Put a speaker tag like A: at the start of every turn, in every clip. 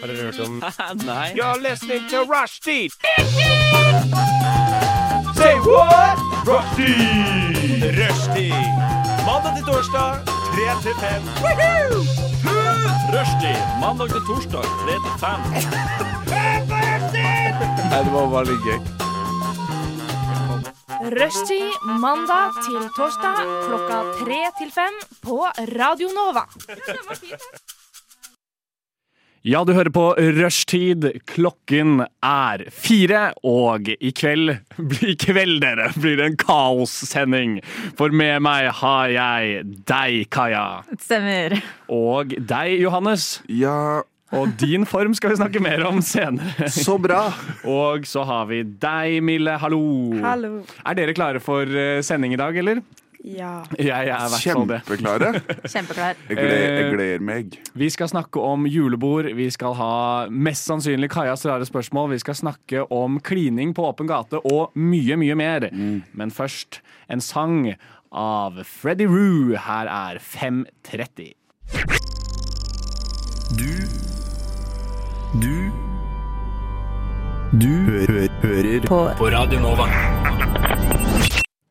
A: Har dere hørt om
B: Nei.
C: You're listening to Rushdie. Say what? Rushdie. Rushdie. Mandag til torsdag, 3 til 5.
B: Rushdie mandag til torsdag 3 til 5.
D: Nei, det var bare litt gøy.
E: Rushtid mandag til torsdag klokka tre til fem på Radio Nova.
A: Ja, du hører på Rushtid. Klokken er fire, og i kveld I kveld, dere, blir det en kaossending. For med meg har jeg deg, Kaja.
F: Stemmer.
A: Og deg, Johannes.
D: Ja,
A: Og din form skal vi snakke mer om senere.
D: så bra!
A: Og så har vi deg, Mille. Hallo.
G: Hallo.
A: Er dere klare for eh, sending i dag, eller?
G: Ja.
A: Jeg er i hvert fall det.
D: Kjempeklare.
F: Kjempeklar.
D: Jeg gleder, jeg gleder meg.
A: Vi skal snakke om julebord. Vi skal ha mest sannsynlig Kajas rare spørsmål. Vi skal snakke om klining på åpen gate og mye, mye mer. Men først en sang av Freddy Roo. Her er 5.30.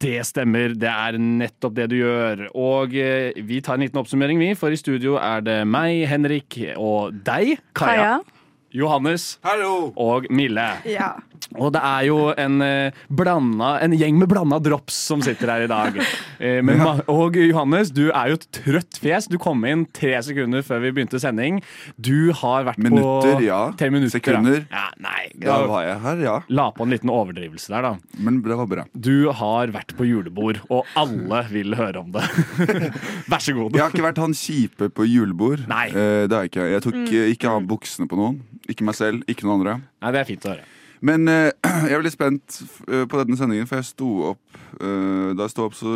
A: Det stemmer, det er nettopp det du gjør. Og eh, vi tar en liten oppsummering, vi, for i studio er det meg, Henrik, og deg, Kaja,
G: Kaja.
A: Johannes
D: Hallo!
A: og Mille.
G: Ja.
A: Og det er jo en, eh, blanda, en gjeng med blanda drops som sitter her i dag. Eh, men, ma- Og Johannes, du er jo et trøtt fjes. Du kom inn tre sekunder før vi begynte sending. Du har vært på
D: Minutter, ja.
A: Tre minutter,
D: Sekunder.
A: Ja. Ja, nei,
D: Da var jeg her, ja.
A: La på en liten overdrivelse der, da.
D: Men det var bra.
A: Du har vært på julebord, og alle vil høre om det. Vær så god.
D: Jeg har ikke vært han kjipe på julebord.
A: Nei.
D: Eh, det har jeg ikke. Jeg tok eh, ikke av buksene på noen. Ikke meg selv, ikke noen andre.
A: Nei, det er fint å høre.
D: Men eh, jeg var litt spent eh, på denne sendingen, for jeg sto opp eh, Da jeg sto opp, så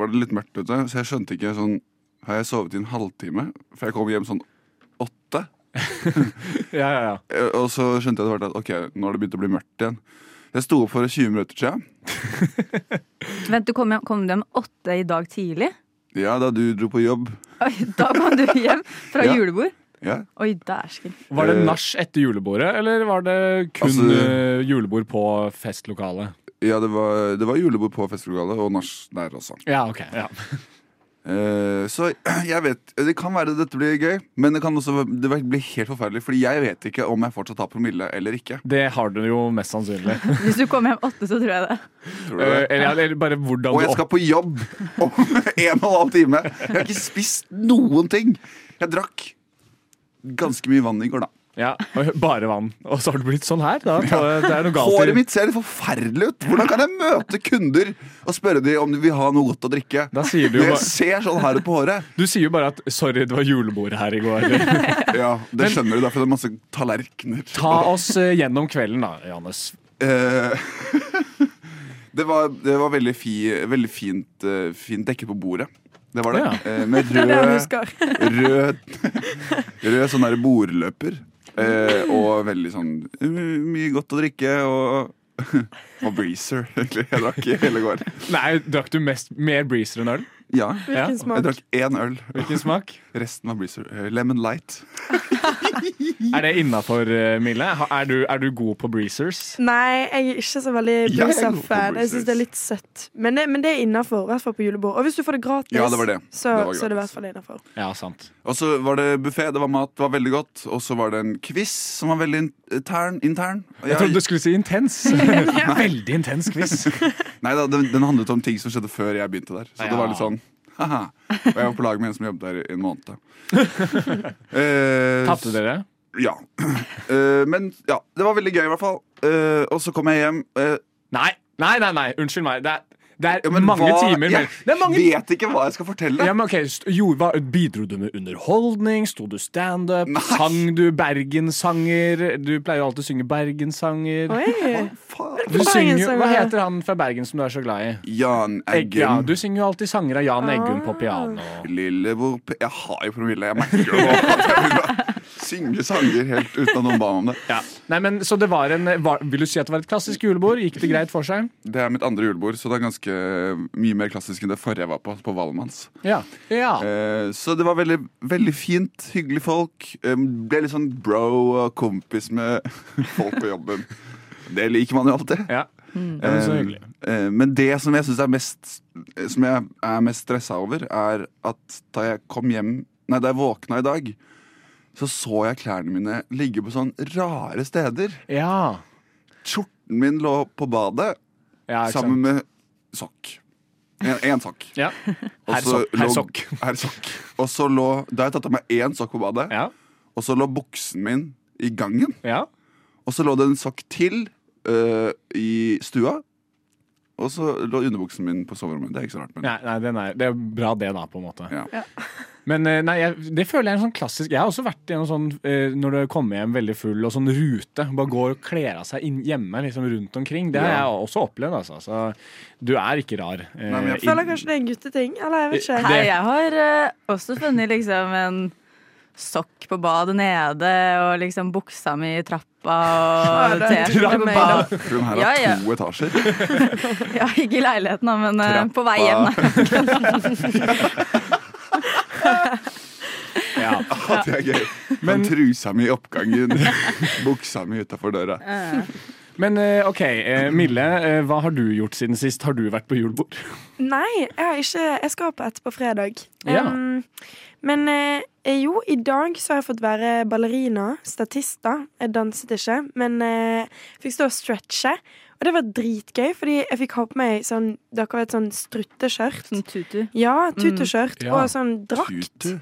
D: var det litt mørkt ute, så jeg skjønte ikke sånn Har jeg sovet i en halvtime? For jeg kom hjem sånn åtte.
A: Ja, ja, ja.
D: Eh, Og så skjønte jeg etter hvert at ok, nå har det begynt å bli mørkt igjen. Jeg sto opp for 20 minutter siden.
F: Vent, du kom, hjem- kom du hjem åtte i dag tidlig?
D: Ja, da du dro på jobb.
F: Oi, da kom du hjem fra
D: Ja.
F: julebord?
D: Ja.
F: Oi, dæsken.
A: Var det
D: Eh,
A: nach etter julebordet, eller var det kun
D: Altså-
A: eh, julebord på festlokalet?
D: Ja, det var, det var julebord på festlokalet, og nach der også.
A: Ja, ok. Ja.
D: Eh, så jeg vet Det kan være dette blir gøy, men det kan også det bli helt forferdelig. Fordi jeg vet ikke om jeg fortsatt har promille eller ikke.
A: Det har du jo mest sannsynlig.
F: Hvis du kom hjem åtte, så tror jeg det.
D: Tror du
A: Eh,
D: det?
A: eller, eller bare hvordan
D: Og
A: du
D: jeg skal på jobb om en og en halv time. Jeg har ikke spist noen ting. Jeg drakk ganske mye vann i går, da.
A: Ja, og bare vann. Og så har du blitt sånn her. Da. Det er noe galt i-
D: Håret mitt ser helt forferdelig ut! Hvordan kan jeg møte kunder og spørre dem om de vil ha noe godt å drikke?
A: Da sier du jo
D: Når jeg
A: bare,
D: ser sånn her ut på håret.
A: du sier jo bare at 'sorry, det var julebord her i går'.
D: Ja, Det skjønner du, derfor er det masse tallerkener.
A: Ta oss eh, gjennom kvelden da, Johannes.
D: Eh, det, var, det var veldig, fi, veldig fint, eh, fint dekket på bordet. Det var det.
A: Ja.
D: Eh, med
G: Det er det jeg
D: rød,
G: husker.
D: rød, rød sånn der bordløper. Eh, og veldig sånn eh, mye godt å drikke og og breezer, egentlig. Jeg drakk i hele går.
A: Nei, drakk du mest, mer breezer enn øl?
D: Ja.
A: Ja.
G: Hvilken
D: Jeg
G: smak?
D: drakk én øl.
A: Hvilken smak?
D: Resten var breezer. Eh, Lemon light.
A: Er det innafor, eh, Mille? Ha- Er du, er du god på breezers?
G: Nei, jeg er ikke så veldig
D: Jeg er god på
G: Brusa-fan. Jeg syns det er litt søtt. Men det, men det er innafor, i hvert fall på julebord. Og hvis du får det gratis,
D: Ja, det var det.
G: Så,
D: Det var
G: så er det i
D: gratis.
G: hvert fall innafor.
A: Ja, sant.
D: Og så var det buffé, det var mat, det var veldig godt. Og så var det en quiz som var veldig intern. intern. Og
A: Jeg trodde du skulle si intens. Veldig intens quiz.
D: Nei da, den, den handlet om ting som skjedde før jeg begynte der. Så
A: Ja.
D: det var litt sånn haha. Og jeg var på lag med en som jobbet der i en måned. Eh,
A: Tapte dere?
D: Ja. Eh, men ja, det var veldig gøy i hvert fall. Eh, og så kom jeg hjem. eh,
A: Nei, nei, nei, nei. unnskyld meg. Det er, det er
D: ja, men
A: mange
D: hva,
A: timer
D: Jeg
A: mellom Det er mange
D: vet ikke hva jeg skal fortelle.
A: ja, men ok, st- jo, hva, Bidro du med underholdning? Sto du standup?
D: Nei.
A: Sang du bergenssanger? Du pleier jo alltid å synge bergenssanger.
G: Oi.
D: Faen.
A: Du synger, jo- hva
G: Bergenssanger.
A: heter han fra Bergen som du er så glad i?
D: Jan
A: Egg, ja,
D: Eggum. Ah.
A: du synger jo alltid sanger av Jan Eggum på piano.
D: Lillebror P- Jeg har jo promille, jeg merker jo det. Synge sanger helt uten at noen ba om det.
A: Nei, men, så det var en, var, Vil du si at det var et klassisk julebord? Gikk det greit for seg?
D: Det er mitt andre julebord, så det er ganske eh, mye mer klassisk enn det forrige jeg var på. På Valmanns.
A: Ja. ja.
D: Eh, så det var veldig, veldig fint, hyggelige folk. Eh, Ble litt sånn bro og kompis med folk på jobben. Det liker man jo alltid.
A: Eh, ja. Mm. Ja, men så hyggelig.
D: Eh, Men det som jeg synes er mest Som jeg er mest stressa over, er at da jeg kom hjem Nei, da jeg våkna i dag, så så jeg klærne mine ligge på sånn rare steder.
A: Ja.
D: Skjorten min lå på badet
A: ja ikke sant.
D: sammen med sokk. Én sokk.
A: Ja.
D: Og
A: Herr
D: så
A: sokk, herr
D: lå-
A: sokk.
D: herr sokk. Og så lå Da har jeg tatt av meg én sokk på badet,
A: Ja.
D: og så lå buksen min i gangen.
A: ja.
D: Og så lå det en sokk til øh, i stua. Og så lå underbuksen min på soverommet. Det er ikke så rart. Men.
A: Nei, nei den er, det er bra det, da, på en måte.
D: Ja.
A: Men eh, nei, jeg, det føler jeg er en sånn klassisk Jeg har også vært i en sånn eh, når du kommer hjem veldig full og sånn rute. Bare går og kler av seg inn, hjemme liksom rundt omkring. Det har
D: Ja.
A: jeg også opplevd, altså. Så du er ikke rar. eh,
D: Nei, men jeg
A: i-
G: Føler kanskje det er en gutteting. Eller jeg vet ikke.
A: Det-
F: Nei, jeg har eh, også funnet liksom en sokk på badet nede, og liksom buksa mi i trappa, og
G: Ja, det er
F: T-skjorte på
G: trappa.
F: badet.
D: Hun her har
F: Ja, ja.
D: to etasjer.
F: Ja, ikke i leiligheten, da, men eh, på vei hjem. da.
A: ja.
D: Ja, det er gøy. Men
A: Men-
D: trusa mi i oppgangen, buksa mi utafor døra.
F: Eh,
A: Men eh, OK, eh, Mille, eh, hva har du gjort siden sist? Har du vært på julebord?
G: Nei, jeg har ikke Jeg skal på ett på fredag.
A: Ja.
G: Um, men eh, jo, i dag så har jeg fått være ballerina, statist, da. Jeg danset ikke, men eh, fikk stå og stretche. Og det var dritgøy, fordi jeg fikk ha på meg sånn Dere vet sånn strutteskjørt?
F: Sånn tutu.
G: Ja, tutuskjørt
A: Mm. Ja.
G: og sånn drakt.
D: Tutu.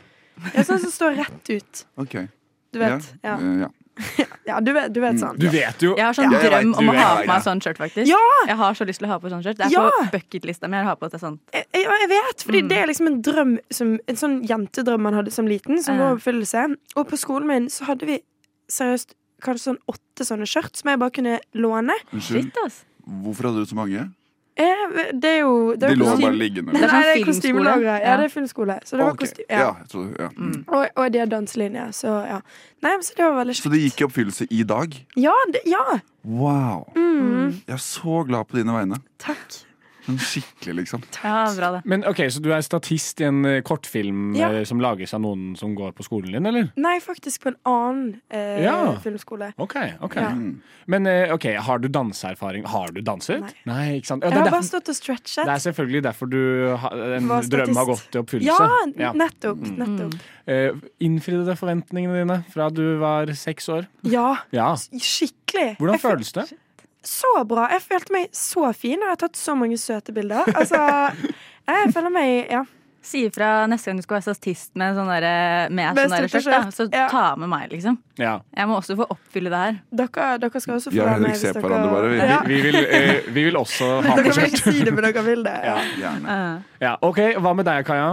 G: Ja, sånn som står rett ut.
D: Ok.
G: Du vet.
D: Ja. Mm.
G: Ja,
D: Eh, ja.
G: ja du vet, du vet sånn.
A: Du vet jo
F: Jeg har sånn
D: Ja, jeg
F: drøm
D: vet,
F: om
D: du
F: å
D: vet,
F: ha
D: ja,
F: på meg
D: ja.
F: sånn skjørt, faktisk.
G: Ja!
F: Jeg har så lyst til å ha på sånn skjørt. Det er
G: Ja!
F: på bucketlista mi. Jeg har på at det er sånn
G: Jeg, jeg, jeg vet, fordi
D: Mm.
G: det er liksom en drøm som, En sånn jentedrøm man hadde som liten Som går i oppfyllelse Og på skolen min så hadde vi seriøst Kanskje sånn åtte sånne skjørt Som jeg bare kunne låne
D: Unnskyld,
F: Shit, ass.
D: hvorfor hadde du så mange?
G: eh, Det er jo det
D: De
G: er
D: lå
G: kostym-
D: bare liggende.
F: Det er
G: Nei,
F: sånn
G: det er
F: filmskole.
G: kostymelagret Ja,
F: Ja.
G: det er filmskole Så det var
D: Ok,
G: kosty-
D: Ja,
G: ja.
D: jeg trodde, ja.
F: Mm.
G: Og, og de har danselinje Så ja Nei, men så det var veldig
D: Så
G: kjekt
D: det gikk i oppfyllelse i dag?
G: Ja, det, ja
D: Wow.
G: mm.
D: Jeg er så glad på dine vegne.
G: Takk
D: Sånn skikkelig, liksom.
F: Ja, bra det.
A: Men ok, Så du er statist i en eh, kortfilm
G: Ja.
A: eh, som lages av noen som går på skolen din, eller?
G: Nei, faktisk på en annen eh,
A: Ja.
G: filmskole
A: OK. ok
G: Ja.
D: Mm.
A: Men eh, ok, har du danseerfaring? Har du danset?
G: Nei.
A: ikke sant? Ja,
G: Jeg
A: det,
G: har
A: er
G: bare
A: derfor,
G: stått og stretchet
A: det er selvfølgelig derfor du ha, en
G: Var
A: drøm har gått
G: statist.
A: til oppfyllelse.
G: ja,
A: Ja. Mm.
G: nettopp, nettopp
A: Eh, innfridde det forventningene dine fra du var seks år?
G: Ja,
A: Ja.
G: Skikkelig.
A: Hvordan
G: Jeg føl-
A: føles det?
G: Så bra. Jeg følte meg så fin, og jeg har tatt så mange søte bilder. Altså, jeg føler meg Ja.
F: Si ifra neste gang du skal være statist med sånn derre- med
G: Med
F: sånn derre skjørt, da. Så
G: strutteskjørt, ja.
F: ta med meg, liksom.
A: Ja.
F: Jeg må også få oppfylle det her.
G: Dere, dere skal også få
D: Jeg og
G: være med.
D: Henrik ser
G: hvis
D: på hverandre bare, vi.
G: Ja.
A: Vi, vil, eh, vi vil også ha
G: Dere vil
A: prosjekt.
G: ikke si det, men dere vil det. Ja.
D: Gjerne.
F: Eh.
A: Ja, ok, Hva med deg, Kaja?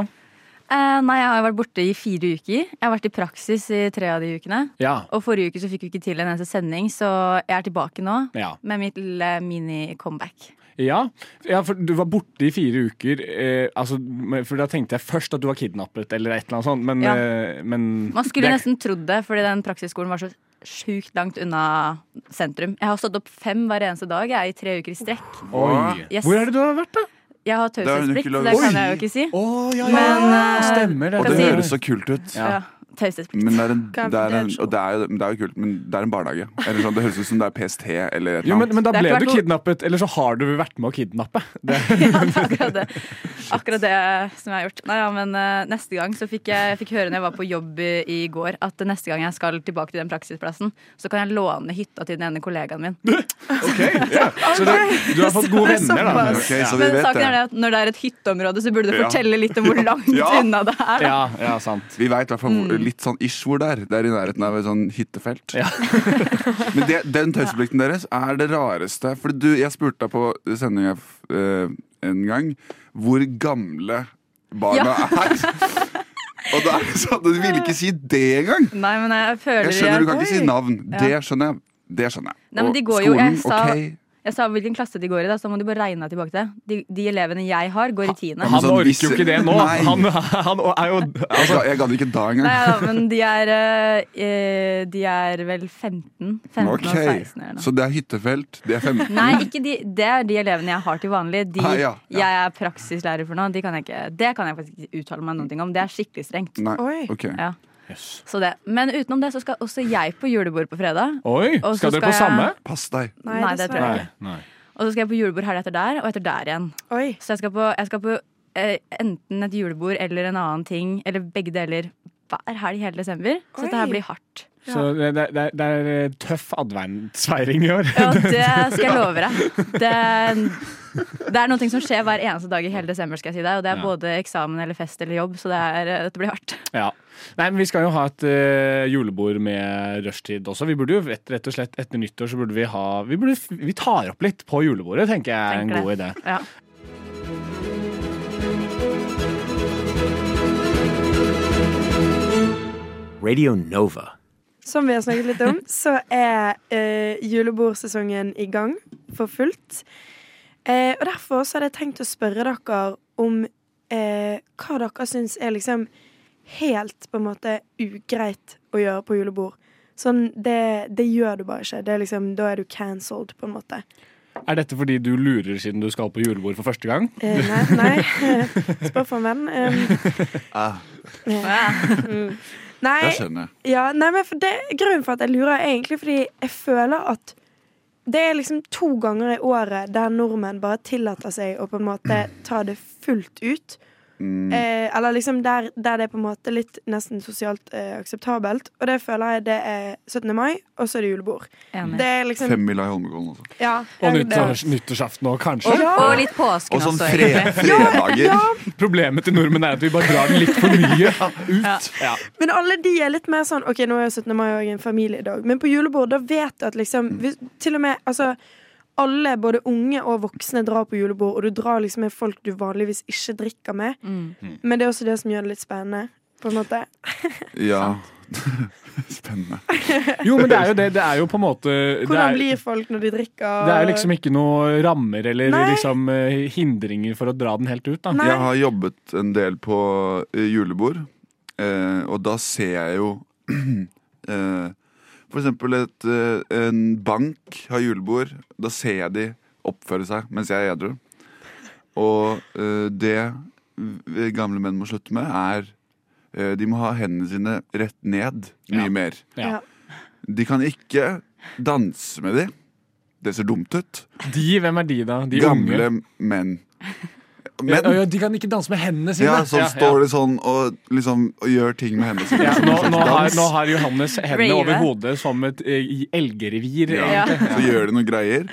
F: Eh, nei, jeg har vært borte i fire uker. Jeg har vært i praksis i tre av de ukene.
A: Ja.
F: Og forrige uke så fikk vi ikke til en eneste sending, så jeg er tilbake nå
A: Ja.
F: med mitt lille mini-comeback.
A: ja. ja, for du var borte i fire uker. Eh, altså, men- for Da tenkte jeg først at du var kidnappet eller et eller annet sånt, men,
F: Ja.
A: eh, men
F: Man skulle
A: det-
F: nesten trodd det, fordi den praksisskolen var så sjukt langt unna sentrum. Jeg har stått opp fem hver eneste dag jeg, i tre uker i strekk.
A: Oi.
F: Yes.
A: Hvor er det du har vært, da?
F: Jeg har
D: er hun ikke
F: taushetsplikt,
D: lov-
F: så det
A: Oi.
F: kan jeg jo ikke si.
A: Å, ja,
F: Men, eh,
A: Stemmer det.
D: Og det
F: si-
D: høres så kult ut.
A: Ja.
F: Ja, taushetsplikt.
D: Men det er en,
G: Kan-
D: det er
G: det er
D: en,
G: så-
D: og det er, jo- men det er jo kult, men det er en barnehage. Eller sånn, det høres ut som det er PST eller et
A: Jo,
D: eller
A: men,
D: annet.
A: men da
F: Det er
A: ble
F: ikke
A: du
F: vært noe-
A: kidnappet, eller så har du vært med å kidnappe. Det,
F: Ja, det er akkurat det. Akkurat det som jeg har gjort. Nei, ja, men eh, neste gang så fikk jeg, jeg fikk høre når jeg var på jobb i, i går, at neste gang jeg skal tilbake til den praksisplassen, så kan jeg låne hytta til den ene kollegaen min.
A: så du, du har fått gode venner, da.
D: Ok, så vi
F: Men
D: vet
F: saken er
D: det.
F: det at når det er et hytteområde, så burde du
D: Ja.
F: fortelle litt om hvor langt
D: Ja.
F: unna det er. da.
A: Ja, ja, sant.
D: Vi veit i hvert fall
F: Mm.
D: hvor- litt sånn ish hvor det er. Det er i nærheten av et sånn hyttefelt.
A: Ja.
D: men det, den taushetsplikten deres er det rareste. For du, jeg spurte deg på sendinga en gang hvor gamle barna er. Og da er det sånn, du ville ikke si det engang!
F: Nei, men jeg føler
D: Jeg skjønner du kan ikke si
F: Oi.
D: navn.
F: Ja.
D: Det skjønner jeg. Det skjønner jeg.
F: Nei, men de
D: Og
F: går jo- jeg
D: skolen,
F: sa-
D: ok.
F: Jeg sa hvilken klasse de går i, da, så da må du bare regne deg tilbake til. det. De, de elevene jeg har, går i tiende.
D: men
A: Han
D: sånn
A: orker jo
D: visse-
A: ikke det nå.
D: Nei.
A: Han, han er jo
D: Jeg
A: altså,
D: ga- Jeg gadd ikke da engang.
F: Nei da, men de er, eh, eh, de er vel 15? 15
D: Ok,
F: og 16 eller noe.
D: Så det er hyttefelt, det er 15
F: Nei, ikke de, det er de elevene jeg har til vanlig. De
D: Ah, ja, ja.
F: jeg er praksislærer for nå, de kan jeg ikke, det kan jeg faktisk ikke uttale meg noe om. Det er skikkelig strengt.
D: Nei,
G: Oi.
D: ok.
F: Ja. Så det. Men utenom det så skal også jeg på julebord på fredag.
A: Oi,
F: Og så
A: skal dere på
F: skal
A: samme?
F: jeg-
D: Pass deg.
G: Nei,
F: Nei, det
G: dessverre.
F: tror jeg ikke. Og så skal jeg på julebord her etter der, og etter der igjen.
G: Oi.
F: Så jeg skal på, jeg skal på eh, enten et julebord eller en annen ting, eller begge deler, hver helg hele desember. Så dette her
G: Oi.
F: blir hardt.
A: Så det, det, det det er eh, tøff adventsfeiring i år.
F: Ja, det skal jeg love deg. Det, det er noe som skjer hver eneste dag i hele desember, skal jeg si deg. Og det er
A: Ja.
F: både eksamen eller fest eller jobb, så det er, dette blir hardt.
A: Ja. Nei, men Vi skal jo ha et eh, julebord med rushtid også. Vi burde jo rett, rett og slett Etter nyttår så burde vi ha Vi, burde, vi tar opp litt på julebordet, tenker jeg er en
F: Tenker
A: god idé.
F: det. Ja.
H: Radio Nova.
A: Er
G: Som vi har snakket litt om, så er eh, julebordsesongen i gang for fullt. Eh, og derfor så hadde jeg tenkt å spørre dere om eh, hva dere syns er liksom helt på en måte ugreit å gjøre på julebord. Sånn, det, det gjør du bare ikke. Det er liksom, da er du cancelled, på en måte.
A: Er dette fordi du lurer siden du skal på julebord for første gang?
G: Eh, nei, nei. Spør for en venn. Um,
D: Ah,
G: mm. Nei,
D: jeg skjønner.
G: Ja, nei, men for det, Grunnen for at jeg lurer, er egentlig fordi jeg føler at det er liksom to ganger i året der nordmenn bare tillater seg å på en måte ta det fullt ut. Eh, eller liksom der, der det er på en måte litt nesten sosialt eh, akseptabelt. Og det føler jeg det er 17. mai, og så er det julebord.
F: Enig.
G: Det er liksom
D: Fem mila i Holmenkollen også.
G: ja,
A: Og
G: jeg-
A: nyttårs, nyttårsaften òg, kanskje?
F: Og, og litt påsken
D: Og sånn
F: også,
D: fre
F: egentlig.
D: fredager.
A: Problemet til nordmenn er at vi bare drar den litt for mye ut. Ja.
G: Men alle de er litt mer sånn Ok, nå er jo 17. mai også en familiedag Men på julebord, da vet du at liksom hvis, Til og med, altså Alle, både unge og voksne drar på julebord Og du drar liksom med folk du vanligvis ikke drikker med
A: Mm.
G: Men det er også det som gjør det litt spennende På en måte
D: Ja. Spennende.
A: Jo, men det er jo det. Det er jo på en måte det
G: Hvordan
A: er,
G: blir folk når de drikker
A: det er jo liksom ikke noe rammer eller
G: Nei.
A: liksom eh, hindringer for å dra den helt ut, da.
G: Nei.
D: Jeg har jobbet en del på eh, julebord, eh, og da ser jeg jo eh, For eksempel et, eh, en bank har julebord. Da ser jeg de oppføre seg mens jeg er edru. Og eh, det v- gamle menn må slutte med, er eh, De må ha hendene sine rett ned mye
A: Ja.
D: mer.
A: Ja.
D: De kan ikke danse med de. Det ser dumt ut.
A: De, hvem er de, da? De
D: gamle
A: unge?
D: menn.
A: Ja, ja, de kan ikke danse med hendene sine.
D: Ja, som
A: Ja, ja.
D: står det sånn og liksom og gjør ting med hendene sine.
A: Ja,
D: som
A: nå,
D: en
A: nå,
D: slags
A: har,
D: dans.
A: nå har Johannes hendene
F: Rave.
A: over hodet som et eh, i- elgrevir.
D: ja. Så gjør de noen greier.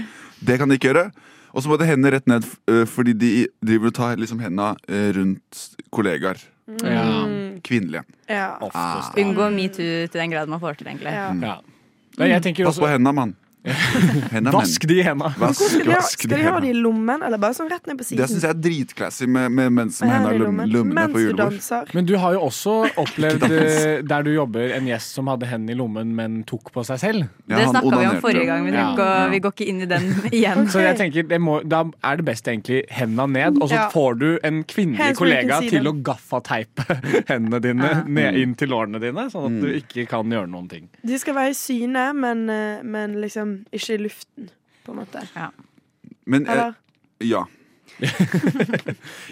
D: Det kan de ikke gjøre. Og så må de hendene rett ned, f- øh, fordi de driver og tar liksom hendene øh, rundt kollegaer.
A: Ja.
D: Kvinnelige.
G: ja.
D: Ah.
F: Unngå metoo til den grad man får til, egentlig.
G: Ja.
A: Ja. Nei, jeg tenker
D: Pass på
A: også
D: hendene, mann. Hendene, menn.
A: Vask de hendene.
D: Vask,
G: Skal de, ha,
D: vask
G: skal de ha
D: hendene.
G: det i lommen, eller bare sånn rett ned på siden?
D: Det syns jeg er dritklassy med, med menn som
G: Med
D: har
G: hendene i
D: hendene i lommene
G: Mens
D: på
G: du
D: julebord.
G: danser
A: Men du har jo også opplevd eh, der du jobber, en gjest som hadde hendene i lommen, men tok på seg selv.
D: Ja,
F: det
D: han
F: snakka vi om
D: onanerte.
F: forrige gang, men
A: Ja.
F: vi går ikke inn i den igjen.
A: Så jeg tenker, det må, Da er det best egentlig henda ned, og så
G: Ja.
A: får du en kvinnelig
G: Hands we can
A: kollega
G: see
A: til å
G: them.
A: gaffateipe hendene dine ned inn til lårene dine, sånn
D: Mm.
A: at du ikke kan gjøre noen ting.
G: De skal være i syne, men, eh, men liksom ikke i luften På en måte
D: Men eh,
G: Eller?
D: ja.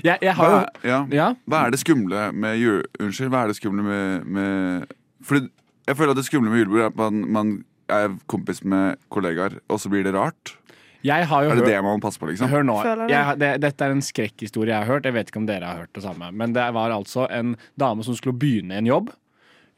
A: Jeg, jeg har
D: Hva,
A: jo
D: ja.
A: Ja?
D: Hva er det skumle med jul... Unnskyld, hva er det skumle med, med Fordi jeg føler at det skumle med julebord er at man, man er kompis med kollegaer, og så blir det rart.
A: Jeg har jo
D: Er det
A: hørt
D: det man må passe på, liksom?
A: Hør nå.
G: Føler det.
A: Jeg, har- det, dette er en skrekkhistorie jeg har hørt. Jeg vet ikke om dere har hørt det samme. Men det var altså en dame som skulle begynne en jobb.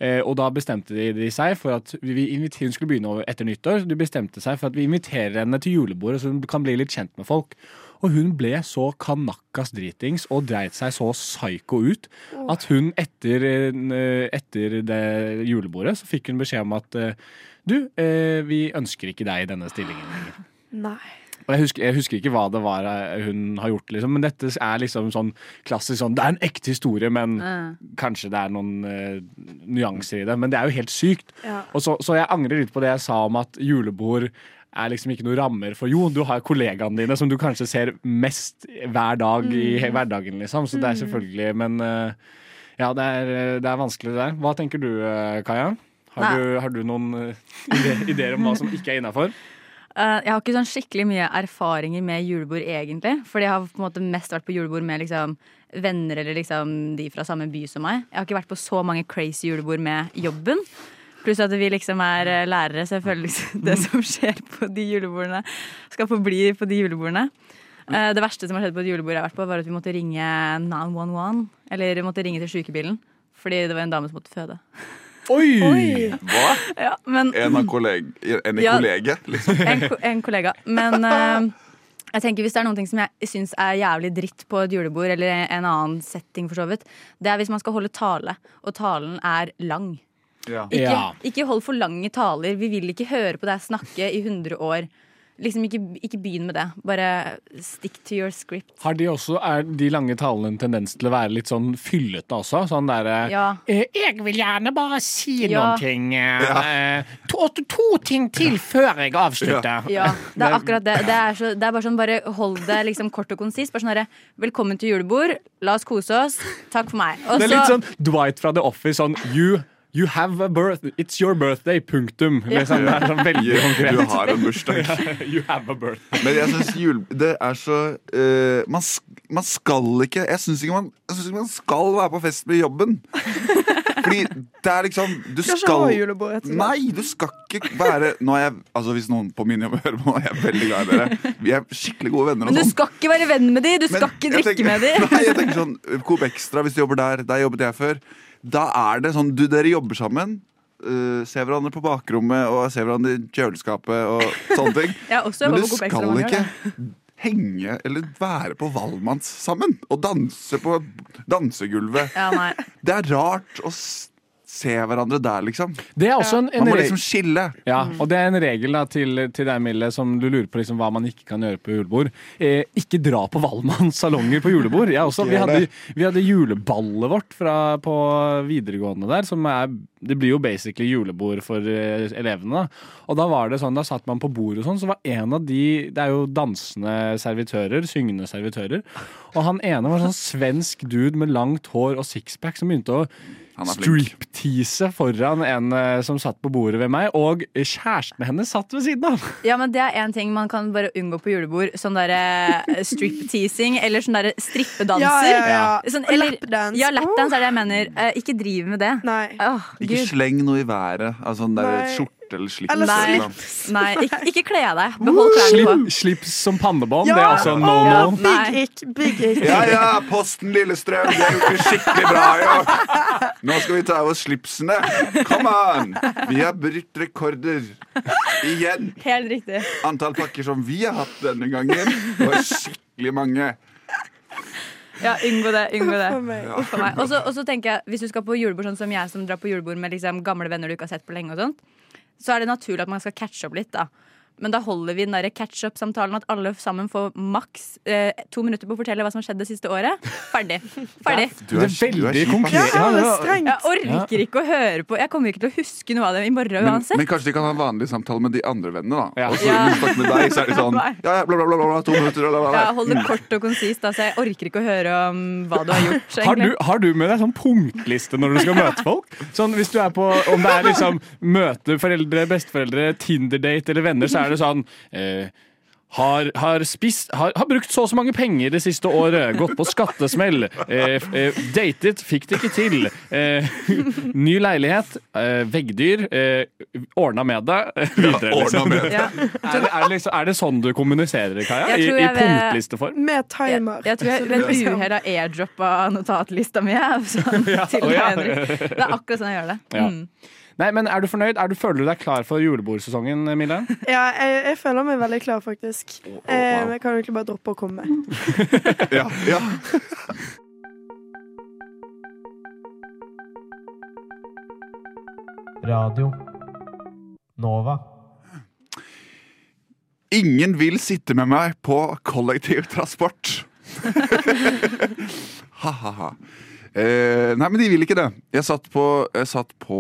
A: Eh, og da bestemte de, de seg for at vi- vi inviter, hun skulle begynne over etter nyttår. Så de bestemte seg for at vi inviterer henne til julebordet, så hun kan bli litt kjent med folk. Og hun ble så kanakkas dritings og dreit seg så psyko ut at hun etter, eh, etter det julebordet så fikk hun beskjed om at eh, du, eh, vi ønsker ikke deg i denne stillingen lenger.
G: Nei
A: Og jeg husker, jeg husker ikke hva det var eh, hun har gjort, liksom, men dette er liksom sånn klassisk sånn Det er en ekte historie, men kanskje det er noen eh, nyanser i det. Men det er jo helt sykt.
G: Ja.
A: Og så, så jeg angrer litt på det jeg sa om at julebord er liksom ikke noen rammer for Jo, du har kollegaene dine, som du kanskje ser mest hver dag i he- hverdagen, liksom. Så det er selvfølgelig Men eh, ja, det er, eh, det er vanskelig, det der. Hva tenker du, eh, Kaja? Har
F: Nei.
A: du, har du noen eh, ide- ideer om hva som ikke er innafor?
F: Eh, Jeg har ikke sånn skikkelig mye erfaringer med julebord, egentlig. Fordi jeg har på en måte mest vært på julebord med liksom venner eller liksom de fra samme by som meg. Jeg har ikke vært på så mange crazy julebord med jobben. Pluss at vi liksom er eh, lærere, så jeg føler liksom det som skjer på de julebordene, skal forbli på de julebordene. Eh, Det verste som har skjedd på et julebord jeg har vært på, var at vi måtte ringe 911. Eller vi måtte ringe til sykebilen. Fordi det var en dame som måtte føde.
A: Oi!
D: Hva?
F: Ja, men
D: En av kolleg... En i
F: Ja.
D: kollege? Liksom.
F: en, ko- en kollega. Men eh, jeg tenker hvis det er noen ting som jeg syns er jævlig dritt på et julebord, eller en annen setting, for så vidt, det er hvis man skal holde tale, og talen er lang. Ikke,
A: Ja.
F: ikke hold for lange taler. Vi vil ikke høre på deg snakke i 100 år. Liksom ikke, ikke begynn med det. Bare stick to your script.
A: Har de også, er de lange talene en tendens til å være litt sånn fyllete også? Sånn derre
F: Ja.
A: «Eh, Jeg vil gjerne bare si
F: Ja.
A: noen ting. eh, eh, To, to, to ting til før jeg avslutter.
F: Ja, det er akkurat det. Det er, så, det er bare sånn, bare hold det liksom kort og konsist. Bare sånn herre, velkommen til julebord, la oss kose oss, takk for meg. Og
A: Det er
F: så-
A: litt sånn Dwight fra The Office. Sånn You, you have a birth. It's your birthday. Punktum. Liksom, det er sånn veldig
D: Du
A: konkret.
D: har en bursdag.
A: You have a birthday.
D: Men jeg syns jul... Det er så eh, man, sk- man skal ikke Jeg syns ikke, man- jeg synes ikke man skal være på fest med jobben. Fordi det er liksom Du
G: skal ikke
D: skal
G: ha julebord, rett og slett.
D: Nei, du skal ikke være nå er jeg, altså Hvis noen på min jobb hører på, er jeg veldig glad i dere. Vi er skikkelig gode venner. og
F: Men du
D: sånn.
F: skal ikke være venn med de, du
D: Men
F: skal ikke
D: jeg
F: drikke
D: tenker-
F: med de.
D: Nei, jeg tenker sånn Coop Extra, hvis du jobber der, der jobbet jeg før. Da er det sånn du, Dere jobber sammen. eh, ser hverandre på bakrommet og ser hverandre i kjøleskapet og sånne ting.
F: Jeg har også
D: Men
F: jobbet
D: du
F: på Coop Extra
D: skal
F: mange år,
D: ikke henge eller være på Valmanns sammen og danse på dansegulvet.
F: Ja, nei.
D: Det er rart å s- se hverandre der, liksom.
A: Det er også en, en
D: Man må
A: regel-
D: liksom skille.
A: Ja, og det er en regel da, til, til deg, Mille, som du lurer på liksom, hva man ikke kan gjøre på julebord. Eh, ikke dra på Valmanns salonger på julebord. Jeg også, vi, hadde, vi hadde juleballet vårt fra, på videregående der, som er Det blir jo basically julebord for eh, elevene. Da. Og da var det sånn, da satt man på bordet og sånn, så var en av de Det er jo dansende servitører, syngende servitører. Og han ene var sånn svensk dude med langt hår og sixpack som begynte å
D: Han er flink.
A: striptease foran en eh, som satt på bordet ved meg, og kjæresten hennes satt ved siden av.
F: Ja, men det er en ting man kan bare unngå på julebord. Sånn derre eh, stripteasing, eller sånn derre strippedanser.
G: Ja, ja, ja.
F: Sånn,
G: Og
F: eller-
G: lapdance.
F: Ja, lapdance er det jeg mener. Eh, ikke driv med det.
G: Nei.
F: Åh,
D: Ikke
F: Gud.
D: sleng noe i været. Altså en der
G: Nei.
D: skjorte eller slips. liksom.
G: Eller
F: Nei.
D: eller noe.
F: Nei, ikke, ikke kle av deg. Behold klærne på.
A: Slipp, slips som pannebånd, det er altså også
G: Ja, å,
A: no
G: ja,
A: no.
F: Nei.
G: Big ick, big ick.
D: Ja, ja, Posten Lillestrøm, det gjorde skikkelig bra, jo. Nå skal vi ta av oss slipsene. Come on! Vi har brutt rekorder. Igjen.
F: Helt riktig.
D: Antall pakker som vi har hatt denne gangen, var skikkelig mange.
F: Ja, unngå det. Unngå det.
G: For meg.
F: for meg. Og så- Og så tenker jeg, hvis du skal på julebord sånn som jeg som drar på julebord med liksom gamle venner du ikke har sett på lenge, og sånt, så er det naturlig at man skal catche opp litt. da. Men da holder vi den der catch up-samtalen at alle sammen får maks eh, to minutter på å fortelle hva som har skjedd det siste året. Ferdig. Ferdig.
D: Du
A: Det
D: er,
A: er
D: du er
A: veldig
D: kjip, ass.
G: Ja,
A: konkret.
G: ja, det er
A: ja.
G: strengt.
F: Jeg orker ikke å høre på. Jeg kommer ikke til å huske noe av det i morgen
D: Men,
F: uansett.
D: men kanskje de kan ha en vanlig samtale med de andre vennene, da.
A: Ja.
D: Og så når de snakker med deg, så er de sånn
F: Nei.
D: Ja, ja, bla, bla, bla, bla, to minutter, bla, bla,
F: Jeg
D: bla.
F: holder kort og konsist, da, så jeg orker ikke å høre om hva du har gjort.
A: Har du,
F: egentlig.
A: har du med deg sånn punktliste når du skal møte folk? Sånn hvis du er på, Om det er liksom møte foreldre, besteforeldre, Tinder-date eller venner, så er det sånn eh, har, har, spist, har, har brukt så og så mange penger det siste året. Gått på skattesmell. Eh, f- eh, datet, fikk det ikke til. Eh, ny leilighet, eh, veggdyr. Eh, ordna med det. Videre,
D: Ordna
A: liksom.
D: med det.
F: Ja.
A: Er, det, er, det liksom, er det sånn du kommuniserer, Kaja?
F: Jeg
A: I,
F: tror
A: i
F: jeg vil-
A: punktlisteform?
G: Med
F: Jeg,
G: timer. Liksom.
F: jeg tror jeg ved et uhell har airdroppa notatlista mi. jeg, Sånn, til
A: å liksom- ja.
F: Henrik. Det er akkurat sånn jeg gjør det.
A: Ja.
F: Mm.
A: Nei, men Er du fornøyd? Er du, føler du deg klar for julebordsesongen, Mille?
G: Ja, jeg, jeg føler meg veldig klar, faktisk.
D: wow.
G: Eh, men jeg kan jo egentlig bare droppe å komme.
D: Ja, ja.
I: Radio Nova.
D: Ingen vil sitte med meg på kollektivtransport. Ha-ha-ha. Eh, nei, men de vil ikke det. Jeg satt på, jeg satt på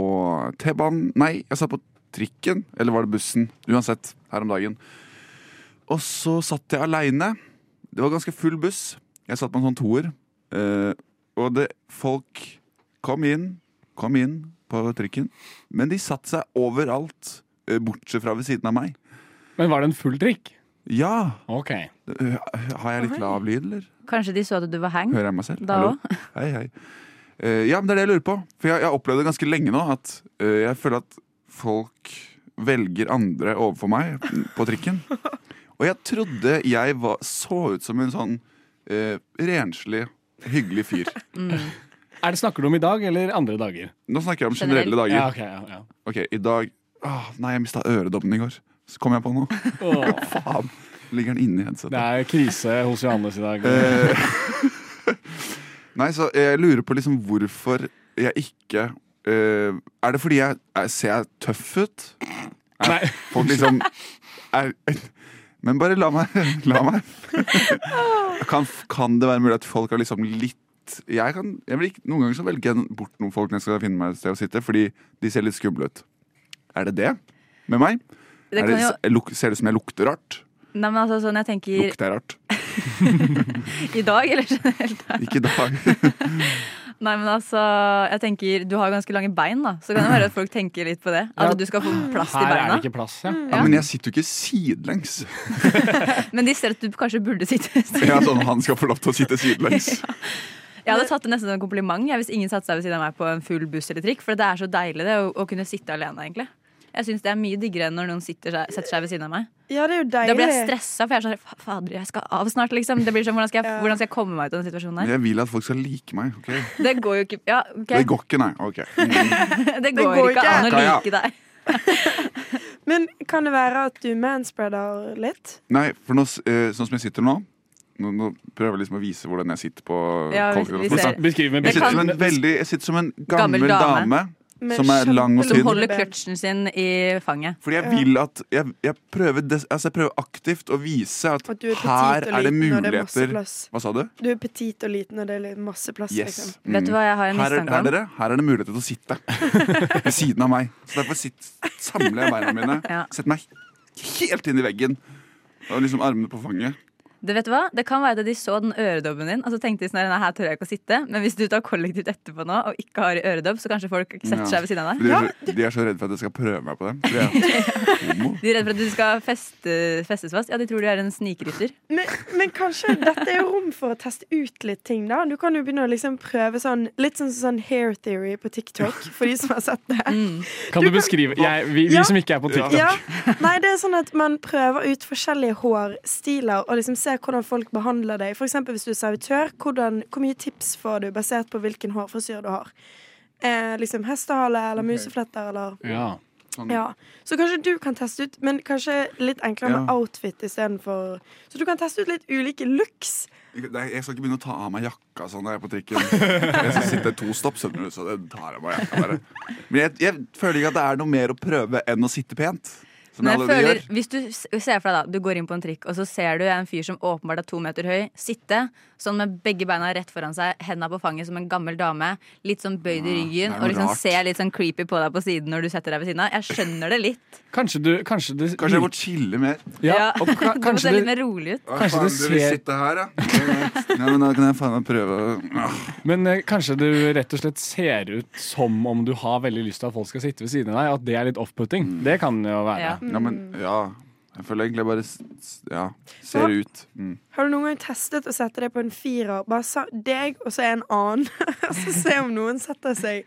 D: T-banen Nei, jeg satt på trikken, eller var det bussen? Uansett, her om dagen. Og så satt jeg aleine. Det var ganske full buss. Jeg satt på en sånn toer. eh, og det, folk kom inn, kom inn på trikken. Men de satt seg overalt, eh, bortsett fra ved siden av meg.
A: Men var det en full trikk?
D: Ja!
A: OK.
D: eh, har jeg litt lav lyd, eller?
F: Kanskje de så at du var hang?
D: Hører jeg meg selv?
F: Da
D: Hallo? Hei, hei. Eh, ja, men det er det jeg lurer på. For jeg jeg har opplevd det ganske lenge nå at eh, jeg føler at folk velger andre overfor meg på trikken. Og jeg trodde jeg var, så ut som en sånn eh, renslig, hyggelig fyr.
A: Er det Snakker du om i dag eller andre dager?
D: Nå snakker jeg om generelle dager.
A: Ja, ok, ja, ja.
D: Ok, i dag Åh, Nei, jeg mista øredobben i går. Så kom jeg på noe.
A: Åh,
D: Faen. Ligger den inni headsetet?
A: det er krise hos Johannes i dag.
D: Eh, Nei, så jeg lurer på liksom hvorfor jeg ikke eh, Er det fordi jeg, jeg ser jeg tøff ut? Er
A: Nei.
D: Folk liksom er, Men bare la meg. La meg. Kan, kan det være mulig at folk har liksom litt jeg kan, jeg vil ikke, Noen ganger så velger jeg bort noen folk når jeg skal finne meg et sted å sitte, fordi de ser litt skumle ut. Er det det med meg?
F: Det
D: er
F: kan
D: det,
F: jo,
D: luk- ser det ut som jeg lukter rart?
F: nei, men altså, sånn jeg tenker
D: Lukter jeg rart?
F: i dag, eller generelt.
D: Ikke i dag.
F: Nei, men altså, jeg tenker, Du har jo ganske lange bein, da, så kan det være at folk tenker litt på det. At
A: Ja.
F: du skal få plass til
A: Her er
F: beina.
A: det ikke plass, ja.
D: Ja, men jeg sitter jo ikke sidelengs.
F: Men de ser at du kanskje burde sitte et sted.
D: Ja, sånn Han skal få lov til å sitte sidelengs.
F: Jeg hadde tatt det nesten som en kompliment jeg, hvis ingen satte seg ved siden av meg på en full buss eller trikk. For det er så deilig det, å, å kunne sitte alene, egentlig. Jeg syns det er mye diggere enn når noen sitter seg, setter seg ved siden av meg.
G: Ja, det er jo
F: Da blir jeg
G: deilig.
F: stressa, for jeg er sånn "Fa- Fader, jeg skal av snart, liksom. Det blir sånn, Hvordan skal jeg,
G: Ja.
F: hvordan skal jeg komme meg ut av den situasjonen her?
D: Jeg vil at folk skal like meg. ok?
F: Det går jo ikke Ja, OK.
D: Det går ikke, nei. ok. Mm.
F: Det går ikke an å
D: Kaja.
F: like deg.
G: Men kan det være at du manspreader litt?
D: Nei, for nå, s- eh, sånn som jeg sitter nå Nå, nå prøver jeg liksom å vise hvordan jeg sitter på
F: Ja, vi- vi
D: kollektivet.
F: ser.
A: Beskriv med
D: Jeg
F: Det
D: sitter
F: kan-
D: som en
A: bilde.
D: veldig Jeg sitter som en
F: Gammel
D: gammel,
F: dame.
D: dame.
G: Med
D: Som er lang og
G: kjempe-
D: tynn.
F: Som holder kløtsjen sin i fanget.
D: Fordi jeg vil at Jeg, jeg, prøver, des, altså jeg prøver aktivt å vise at,
G: At du er petit
D: her
G: og
D: er det
G: liten, og det er masse
D: muligheter.
G: plass.
D: Hva sa du?
G: Du er petit og liten, og det er litt masse plass.
D: Yes.
G: Liksom.
D: Mm.
F: Vet du hva jeg har en
D: Her er,
F: mistanke
D: her,
F: om?
D: dere, her er det muligheter til å sitte ved siden av meg. Så derfor sitt, samler jeg beina mine,
F: Ja.
D: setter meg helt inn i veggen og liksom armene på fanget.
F: Det, vet du hva? det kan være at de så den øredobben din og så tenkte de sånn, nei, her tør jeg ikke å sitte. Men hvis du tar kollektivt etterpå nå og ikke har øredobb, så kanskje folk setter
D: Ja.
F: seg ved siden av
D: For
F: deg.
D: De er, så, de er så redde for at jeg skal prøve meg på dem. For jeg er homo.
F: De er redd for at du skal feste, festes fast. Ja, de tror du er en snikrytter.
G: Men, men kanskje dette er jo rom for å teste ut litt ting, da. Du kan jo begynne å liksom prøve sånn litt sånn, sånn hair theory på TikTok, for de som har sett det.
A: Kan du beskrive jeg, vi, vi
G: Ja.
A: som ikke er på TikTok.
G: Ja. Nei, det er sånn at man prøver ut forskjellige hårstiler og liksom ser hvordan folk behandler deg. For eksempel hvis du er servitør, hvordan, hvor mye tips får du basert på hvilken hårfrisyr du har? Eh, liksom hestehale eller musefletter eller
A: Ja.
G: ja. Så kanskje du kan teste ut, men kanskje litt enklere med
D: Ja.
G: outfit istedenfor. Så du kan teste ut litt ulike looks.
D: Nei, jeg skal ikke begynne å ta av meg jakka sånn når jeg er på trikken. Jeg skal sitte to stopp, skjønner du, så det tar jeg meg jakka bare. Men jeg, jeg føler ikke at det er noe mer å prøve enn å sitte pent. Som jeg
F: Men jeg
D: allerede
F: føler,
D: gjør.
F: hvis du s- ser for deg da, du går inn på en trikk, og så ser du en fyr som åpenbart er to meter høy, sitte sånn med begge beina rett foran seg, hendene på fanget som en gammel dame, litt sånn bøyd i ryggen,
D: Ah, det er noe
F: og liksom
D: rart.
F: ser litt sånn creepy på deg på siden når du setter deg ved siden av. Jeg skjønner det litt.
A: Kanskje du Kanskje det
D: Kanskje jeg må chille mer.
A: ja, og ka,
F: du må se
A: kanskje det,
F: litt mer rolig ut.
D: Hva
A: Kanskje
D: faen,
A: det
D: Du vil
A: ser-
D: sitte her, ja? Ja, men da kan jeg faen meg prøve å
A: Men eh, kanskje du rett og slett ser ut som om du har veldig lyst til at folk skal sitte ved siden av deg. At det er litt off-putting. Det kan jo være.
F: Ja.
D: Ja, men ja. Jeg føler egentlig jeg bare s- s- ja, ser ut. Mm.
G: Har du noen gang testet å sette deg på en firer? Bare sa deg, og så en annen. så se om noen setter seg.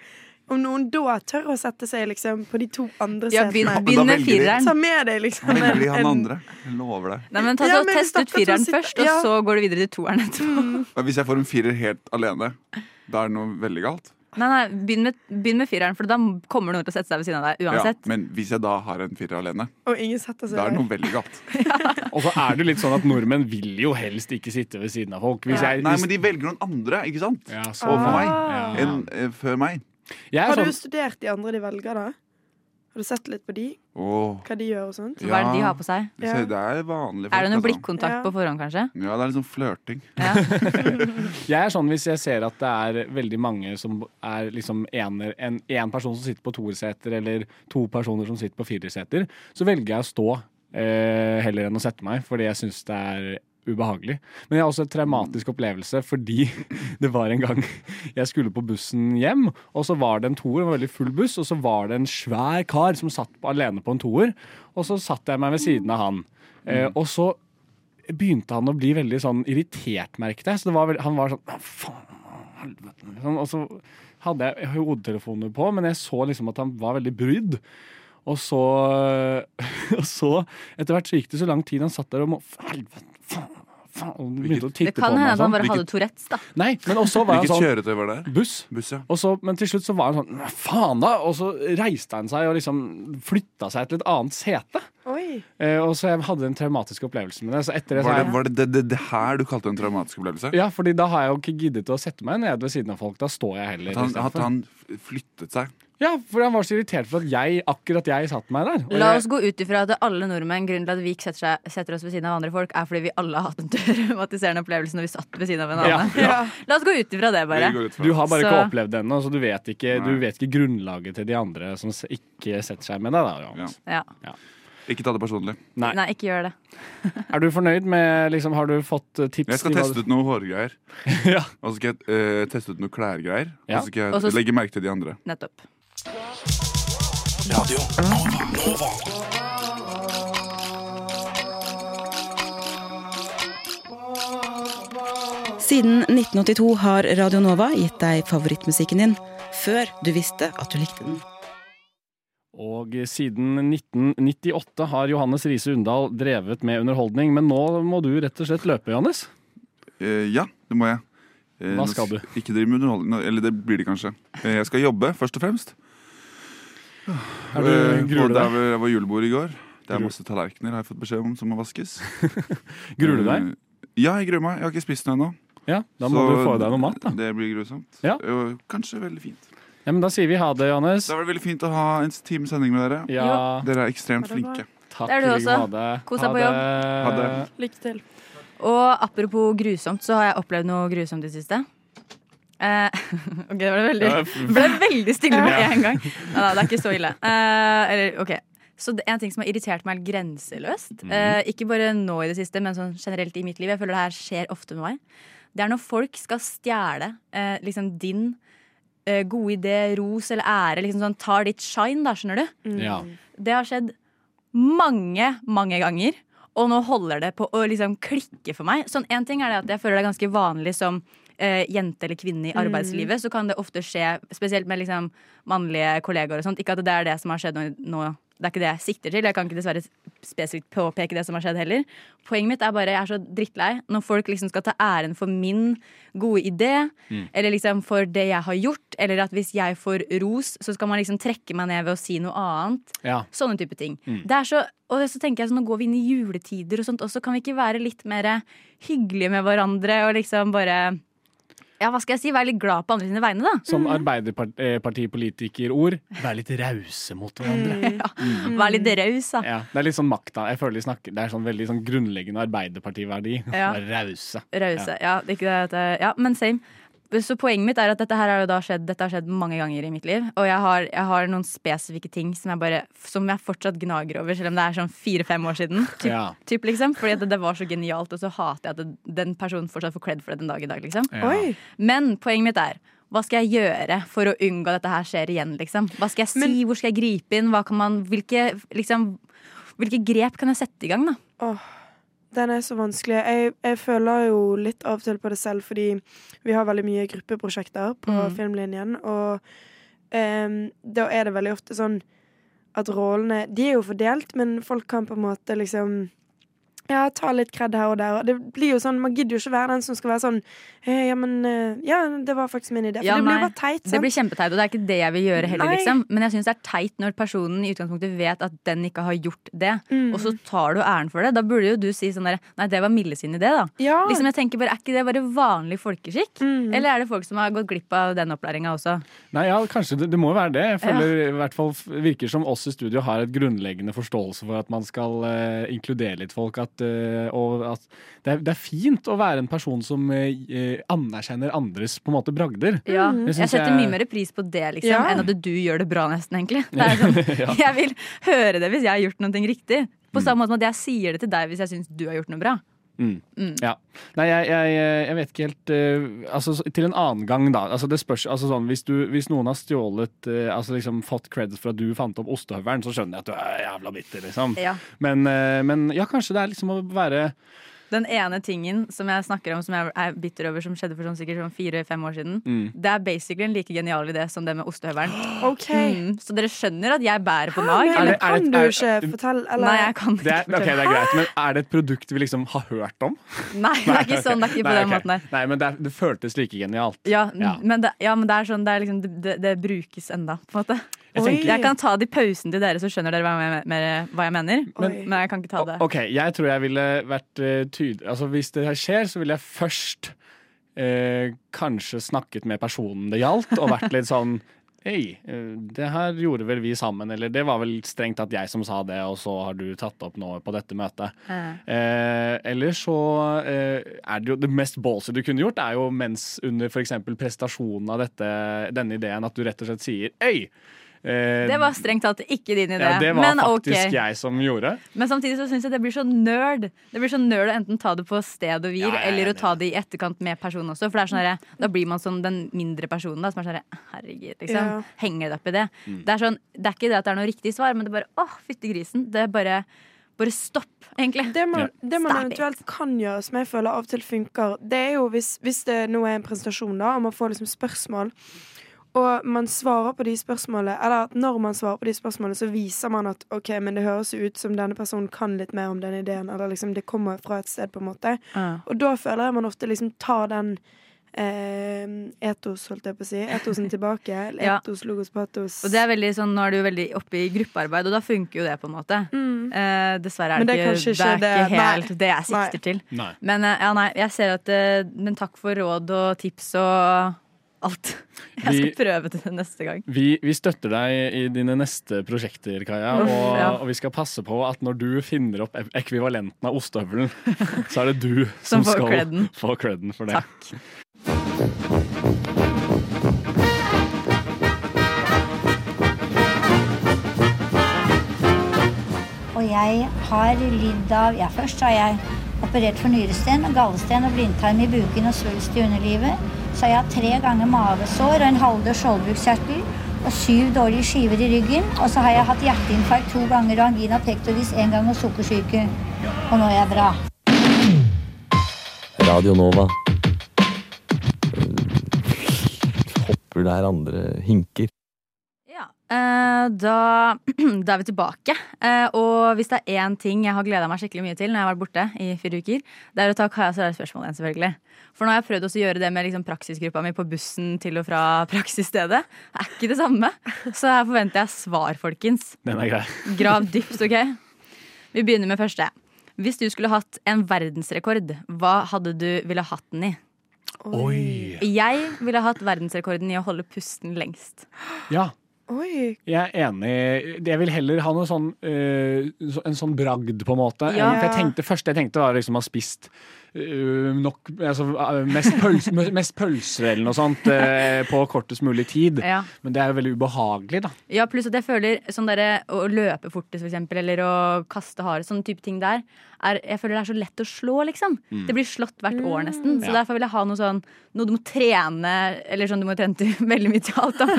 G: Om noen da tør å sette seg liksom, på de to andre
F: Ja,
G: setene.
F: begynn
D: da
F: begynn med
D: velger vi.
F: fireren.
G: Ta med deg liksom
D: Veldig han
G: en-
D: andre. Jeg lover det.
F: Nei, men ta,
G: Ja,
F: så
G: men vi
F: Test ut
G: starter
F: fireren
G: å sitte-
F: først, og
G: ja. Mm.
F: så går du videre til toeren etterpå.
D: Og Hvis jeg får en firer helt alene, da er det noe veldig galt.
F: Nei, nei, begynn med, begynn med fireren, for da kommer noen til å sette seg ved siden av deg
D: Ja,
F: uansett.
D: men hvis jeg da har en firer alene,
G: Og ingen setter seg
D: da er det
G: der.
D: noe veldig galt.
A: Og så er det litt sånn at nordmenn vil jo helst ikke sitte ved siden av folk. Hvis jeg,
D: Nei,
A: hvis,
D: men de velger noen andre, ikke sant?
A: ja, så,
D: Overfor meg.
A: ja.
D: Enn eh, før meg.
A: Jeg
G: Ah. Har
A: er
G: du
A: sånn
G: studert de andre de velger, da? Har du sett litt på de?
D: Åh,
G: Hva de gjør og sånt?
F: Hva er det de har på seg?
D: se, det er vanlige folk.
F: Er det
D: altså.
F: noen blikkontakt
G: Ja.
F: på forhånd, kanskje?
D: Ja, det er litt sånn flørting.
F: Ja.
A: Jeg er sånn hvis jeg ser at det er veldig mange som er liksom ener, en, en person som sitter på toerseter, eller to personer som sitter på firerseter, så velger jeg å stå eh, heller enn å sette meg, fordi jeg syns det er ubehagelig. Men jeg har også en traumatisk opplevelse fordi det var en gang jeg skulle på bussen hjem, og så var det en toer, det var veldig full buss, og så var det en svær kar som satt på- alene på en toer, og så satt jeg meg ved siden av han. Eh, og så begynte han å bli veldig sånn irritert, merket jeg. Så det var vel- han var sånn «Å, faen, helvete. Sånn, og så hadde jeg hodetelefoner på, men jeg så liksom at han var veldig brydd. Og så, og så Etter hvert så gikk det så lang tid han satt der og må Helvete, faen, faen. Og begynte å titte
F: Det
A: på
F: kan hende
A: meg.
F: at han
A: og Sånn.
F: bare hadde Tourettes, da.
A: Nei, men også var han
D: Hvilket
A: sånn
D: kjøretøy var det? her?
A: Buss.
D: Buss, ja.
A: Og så, men til slutt så var han sånn «Nei, Faen, da! Og så reiste han seg og liksom flytta seg til et annet sete.
G: Oi.
A: Eh, og så jeg hadde en traumatisk opplevelse med det. Så etter det så
D: Var
A: har
D: det
A: jeg
D: var det, det, det, det her du kalte en traumatisk opplevelse?
A: Ja, fordi da har jeg jo ikke giddet å sette meg ned ved siden av folk. Da står jeg heller.
D: At han,
A: istedenfor.
D: at han f- flyttet seg?
A: Ja, for han var så irritert for at jeg, akkurat jeg satt meg der. Og
F: La
A: jeg,
F: oss gå ut ifra at alle nordmenn grunnen til at vi ikke setter, seg, setter oss ved siden av andre folk, er fordi vi alle har hatt en traumatiserende opplevelse når vi satt ved siden av en
A: Ja.
F: annen. La oss gå ut ifra det, bare.
D: Vi går ut
A: du
D: fra
A: har bare ikke
F: Så-
A: opplevd det ennå, så du vet, ikke, du
D: Nei.
A: vet ikke grunnlaget til de andre som s- ikke setter seg med deg. Da, Johannes.
F: Ja.
D: det. Ikke ta det personlig.
A: Nei.
F: Nei, ikke gjør det.
A: Er du fornøyd med liksom, Har du fått eh, tips?
D: Jeg skal
A: til hva
D: teste
A: du-
D: ut noen hårgreier.
A: Ja.
D: Og så skal jeg eh, teste ut noen klærgreier.
A: Ja.
D: Og så skal jeg
F: Og så-
D: legge merke til de andre.
F: Nettopp.
J: Siden 1982 har Radio Nova gitt deg favorittmusikken din før du visste at du likte den.
A: Og eh, siden 1998 har Johannes Riise Undal drevet med underholdning, men nå må du rett og slett løpe, Johannes.
D: Eh, ja, det må jeg. Eh,
A: Hva
D: nå
A: skal du?
D: sk- Ikke drive med underholdning. nå- Eller det blir det kanskje. Eh, jeg skal jobbe, først og fremst.
A: Er du,
D: Eh,
A: gruer,
D: både
A: du
D: der
A: deg?
D: hvor jeg var julebord i går. Det er
A: Gruer-
D: masse tallerkener har jeg fått beskjed om som må vaskes.
A: gruer du deg?
D: Eh, Ja, jeg gruer meg. Jeg har ikke spist noe ennå.
A: Ja, da må
D: Så
A: du få i deg noe mat, da.
D: Det blir grusomt. Eh,
A: Ja.
D: Og kanskje veldig fint.
A: Ja, men da sier vi ha det, Johannes.
D: Da var det veldig fint å ha en times sending med dere.
A: Ja,
D: Dere er ekstremt
G: Ha det bra.
D: flinke.
A: takk
F: Det er du
A: i like
F: også.
A: måte.
F: Kos
A: Ha
F: deg på
A: det.
F: jobb.
D: Ha det.
G: Lykke til.
F: Og apropos grusomt, så har jeg opplevd noe grusomt i det siste. Eh, ok, det ble veldig, ble veldig stille med en gang. Nei da, det er ikke så ille. Eh, eller, ok. Så det er en ting som har irritert meg helt grenseløst, eh, ikke bare nå i det siste, men sånn generelt i mitt liv, jeg føler det her skjer ofte med meg, det er når folk skal stjele eh, liksom din eh, gode idé, ros eller ære, liksom sånn tar ditt shine, da, skjønner du?
A: Ja.
F: Det har skjedd mange, mange ganger. Og nå holder det på å liksom klikke for meg. Sånn, en ting er det at jeg føler det er ganske vanlig som eh, jente eller kvinne i arbeidslivet. Så kan det ofte skje, spesielt med liksom mannlige kollegaer og sånt. Ikke at det er det som har skjedd nå. nå. Det er ikke det jeg sikter til. Jeg kan ikke dessverre spesifikt påpeke det som har skjedd heller. Poenget mitt er bare jeg er så drittlei når folk liksom skal ta æren for min gode idé, eller liksom for det jeg har gjort, eller at hvis jeg får ros, så skal man liksom trekke meg ned ved å si noe annet.
A: Ja.
F: Sånne type ting.
A: Mm.
F: Det er så, og så tenker jeg sånn, Nå går vi inn i juletider, og sånt også kan vi ikke være litt mer hyggelige med hverandre og liksom bare Ja, hva skal jeg si? Være litt glad på andre sine vegne, da.
A: Som eh, arbeiderpartipolitikerord Vær litt rause mot hverandre.
F: Være litt raus, da.
A: Mm. Ja, det er litt sånn makta. Jeg føler de snakker, Det er sånn veldig sånn grunnleggende arbeiderpartiverdi.
F: Ja.
A: Vær rause.
F: Rause. Ja, det er ikke det at jeg- ja, men same. Så poenget mitt er at dette her har jo da skjedd Dette har skjedd mange ganger i mitt liv. Og jeg har, jeg har noen spesifikke ting som jeg, bare, som jeg fortsatt gnager over, selv om det er sånn fire-fem år siden. Typ,
A: Ja.
F: typ liksom Fordi at det, det var så genialt, og så hater jeg at det, den personen fortsatt får cred for det den dag i dag. liksom
A: Ja.
G: Oi.
F: Men poenget mitt er hva skal jeg gjøre for å unngå at dette her skjer igjen? Liksom? Hva skal jeg si?
G: Men-
F: Hvor skal jeg gripe inn? Hva kan man, hvilke, liksom, hvilke grep kan jeg sette i gang? Da?
G: Den er så vanskelig. Jeg, jeg føler jo litt av og til på det selv, fordi vi har veldig mye gruppeprosjekter på
F: Mm.
G: filmlinjen, og em, da er det veldig ofte sånn at rollene De er jo fordelt, men folk kan på en måte liksom Ja, ta litt kred her og der. Og det blir jo sånn, Man gidder jo ikke være den som skal være sånn eh, Ja, men eh, Ja, det var faktisk min idé. For
F: Ja,
G: det blir
F: nei.
G: jo bare teit.
F: Det
G: Sant?
F: blir kjempeteit, og det er ikke det jeg vil gjøre heller.
G: Nei.
F: Liksom. Men jeg syns det er teit når personen i utgangspunktet vet at den ikke har gjort det,
G: Mm.
F: og så tar du æren for det. Da burde jo du si sånn der Nei, det var Mille sin idé, da.
G: Ja. Mm.
F: Liksom, jeg tenker bare, Er ikke det bare vanlig folkeskikk? Eller er det folk som har gått glipp av den opplæringa også?
A: Nei, ja, kanskje det, det må jo være det. Jeg føler i hvert fall f- virker som oss i studio har et grunnleggende forståelse for at man skal eh, inkludere litt folk. At, eh, og at det, er, det er fint å være en person som eh, eh, anerkjenner andres på en måte bragder.
F: Ja.
A: Det
F: Jeg
A: synes
F: setter
A: jeg-
F: mye mer pris på det liksom,
A: Ja.
F: enn at du gjør det bra, nesten. egentlig det er sånn, Jeg vil høre det hvis jeg har gjort noe riktig. På samme måte som at jeg sier det til deg hvis jeg syns du har gjort noe bra.
A: Mm.
F: Mm.
A: Ja. Nei, jeg, jeg, jeg vet ikke helt eh, altså, så- Til en annen gang, da. Altså, det spørs, altså, sånn, hvis, du, hvis noen har stjålet eh, altså, liksom, Fått creds for at du fant opp ostehøvelen, så skjønner jeg at du er jævla bitter, liksom.
F: Ja.
A: Men, eh, men ja, kanskje det er liksom å være
F: Den ene tingen som jeg snakker om som jeg er bitter over, som skjedde for sånn sikkert sånn fire-fem år siden,
A: Mm.
F: det er basically en like genial idé som det med ostehøvelen.
G: Ok.
F: Mm, så dere skjønner at jeg bærer på
G: Nei,
F: mag?
A: Er det- er
G: men
A: det-
G: kan du
A: er-
G: ikke fortelle eller?
F: Nei, jeg kan
A: det
F: ikke
A: er, ok, det er greit, men er det et produkt vi liksom har hørt om?
F: Nei, det er ikke sånn. Det er ikke
A: Nei,
F: på den
A: ok.
F: måten der.
A: Nei, men det, er, det føltes like genialt.
F: Ja,
A: Ja.
F: Men det, ja, men det er sånn, det, er liksom, det- det, det brukes enda, på en måte.
A: Jeg tenker-
F: jeg kan ta det i pausen til dere, så skjønner dere hva jeg, mer, hva jeg mener.
A: Men-
F: Men, jeg kan ikke ta det.
A: Ok, jeg tror jeg ville vært eh, tydelig Altså hvis det her skjer, så ville jeg først eh, kanskje snakket med personen det gjaldt, og vært litt sånn Hei, eh, det her gjorde vel vi sammen, eller det var vel strengt tatt jeg som sa det, og så har du tatt opp nå på dette møtet. Eh, eller så eh, er det jo det mest ballsy du kunne gjort, er jo mens under f.eks. prestasjonen av dette, denne ideen, at du rett og slett sier Øy! eh,
F: Det var strengt tatt ikke din idé.
A: ja, det var
F: men ok.
A: faktisk jeg som gjorde.
F: Men samtidig så syns jeg det blir så nerd. Det blir så nerd å enten ta det på sted og hvil,
A: Ja, jeg er
F: eller
A: enig.
F: å ta det i etterkant med personen også. For det er sånn herre, da blir man som den mindre personen da, som er sånn herre, herregud, liksom.
G: Ja.
F: Henger det opp i det?
A: Mm.
F: Det er sånn, det er ikke det at det er noe riktig svar, men det er bare åh, fytti grisen. Det er bare bare stopp, egentlig.
G: Det man, det man
F: Stop it.
G: eventuelt kan gjøre, som jeg føler av og til funker, det er jo hvis, hvis det nå er en presentasjon, da, og man får liksom spørsmål, og man svarer på de spørsmålene, eller at når man svarer på de spørsmålene, så viser man at OK, men det høres jo ut som denne personen kan litt mer om den ideen, eller liksom det kommer fra et sted, på en måte.
F: Ja.
G: Og da føler jeg man ofte liksom tar den eh, etos, holdt jeg på å si, etosen tilbake.
F: Ja.
G: Etos, logos, patos.
F: Og det er veldig sånn, Nå er du jo veldig oppe i gruppearbeid, og da funker jo det. på en måte
G: Mm.
F: eh, Dessverre er
G: Men
F: det,
G: det er
F: ikke,
G: kanskje
F: det er
G: ikke
F: ikke
G: det- nei.
F: helt det jeg sikter til.
A: Nei.
F: Men, eh, ja, nei, jeg ser at, eh, men takk for råd og tips og alt. Jeg skal
A: Vi-
F: prøve til neste gang.
A: Vi, vi støtter deg i dine neste prosjekter, Kaja.
F: Uff,
A: Og,
F: ja.
A: og vi skal passe på at når du finner opp ev- ekvivalenten av ostehøvelen, så er det du
F: Som
A: som,
F: får
A: skal
F: credden.
A: få creden for det.
K: Og jeg har lidd av Ja, først har jeg operert for nyresten, gallesten og blindtarm i buken og svulst i underlivet. Så har jeg hatt tre ganger mavesår og en halvdød skjoldbruskkjertel og syv dårlige skiver i ryggen. Og så har jeg hatt hjerteinfarkt to ganger og angina pectoris én gang og sukkersyke. Og nå er jeg bra.
L: Radio Nova. Eh, Hopper der andre hinker.
F: Eh, da, da er vi tilbake. Eh, og hvis det er én ting jeg har gleda meg skikkelig mye til, når jeg har vært borte i fire uker, det er å ta Kajas rare spørsmål igjen, selvfølgelig. For nå har jeg prøvd også å gjøre det med liksom, praksisgruppa mi på bussen til og fra praksisstedet. Det er ikke det samme. Så her forventer jeg svar, folkens.
A: Den er grei.
F: Grav dypt, OK? Vi begynner med første. Hvis du skulle hatt en verdensrekord, hva hadde du ville hatt den i?
A: Oi.
F: Jeg ville hatt verdensrekorden i å holde pusten lengst.
A: Ja,
G: Oi.
A: jeg er enig. Jeg vil heller ha noe sånn, eh, så- en sånn bragd, på en måte.
F: Ja.
A: For jeg tenkte, første jeg tenkte, var liksom å ha spist eh, nok altså, eh, mest, pøls, mest pølser eller noe sånt eh, på kortest mulig tid.
F: Ja.
A: Men det er jo veldig ubehagelig, da.
F: Ja, pluss at jeg føler sånn derre å løpe fortest, for eksempel, eller å kaste hare, sånne type ting der, er, jeg føler det er så lett å slå, liksom.
M: Mm.
F: Det blir slått hvert år, nesten. Så
M: Ja.
F: derfor vil jeg ha noe sånn noe du må trene, eller sånn du må trene til veldig mye til alt, da.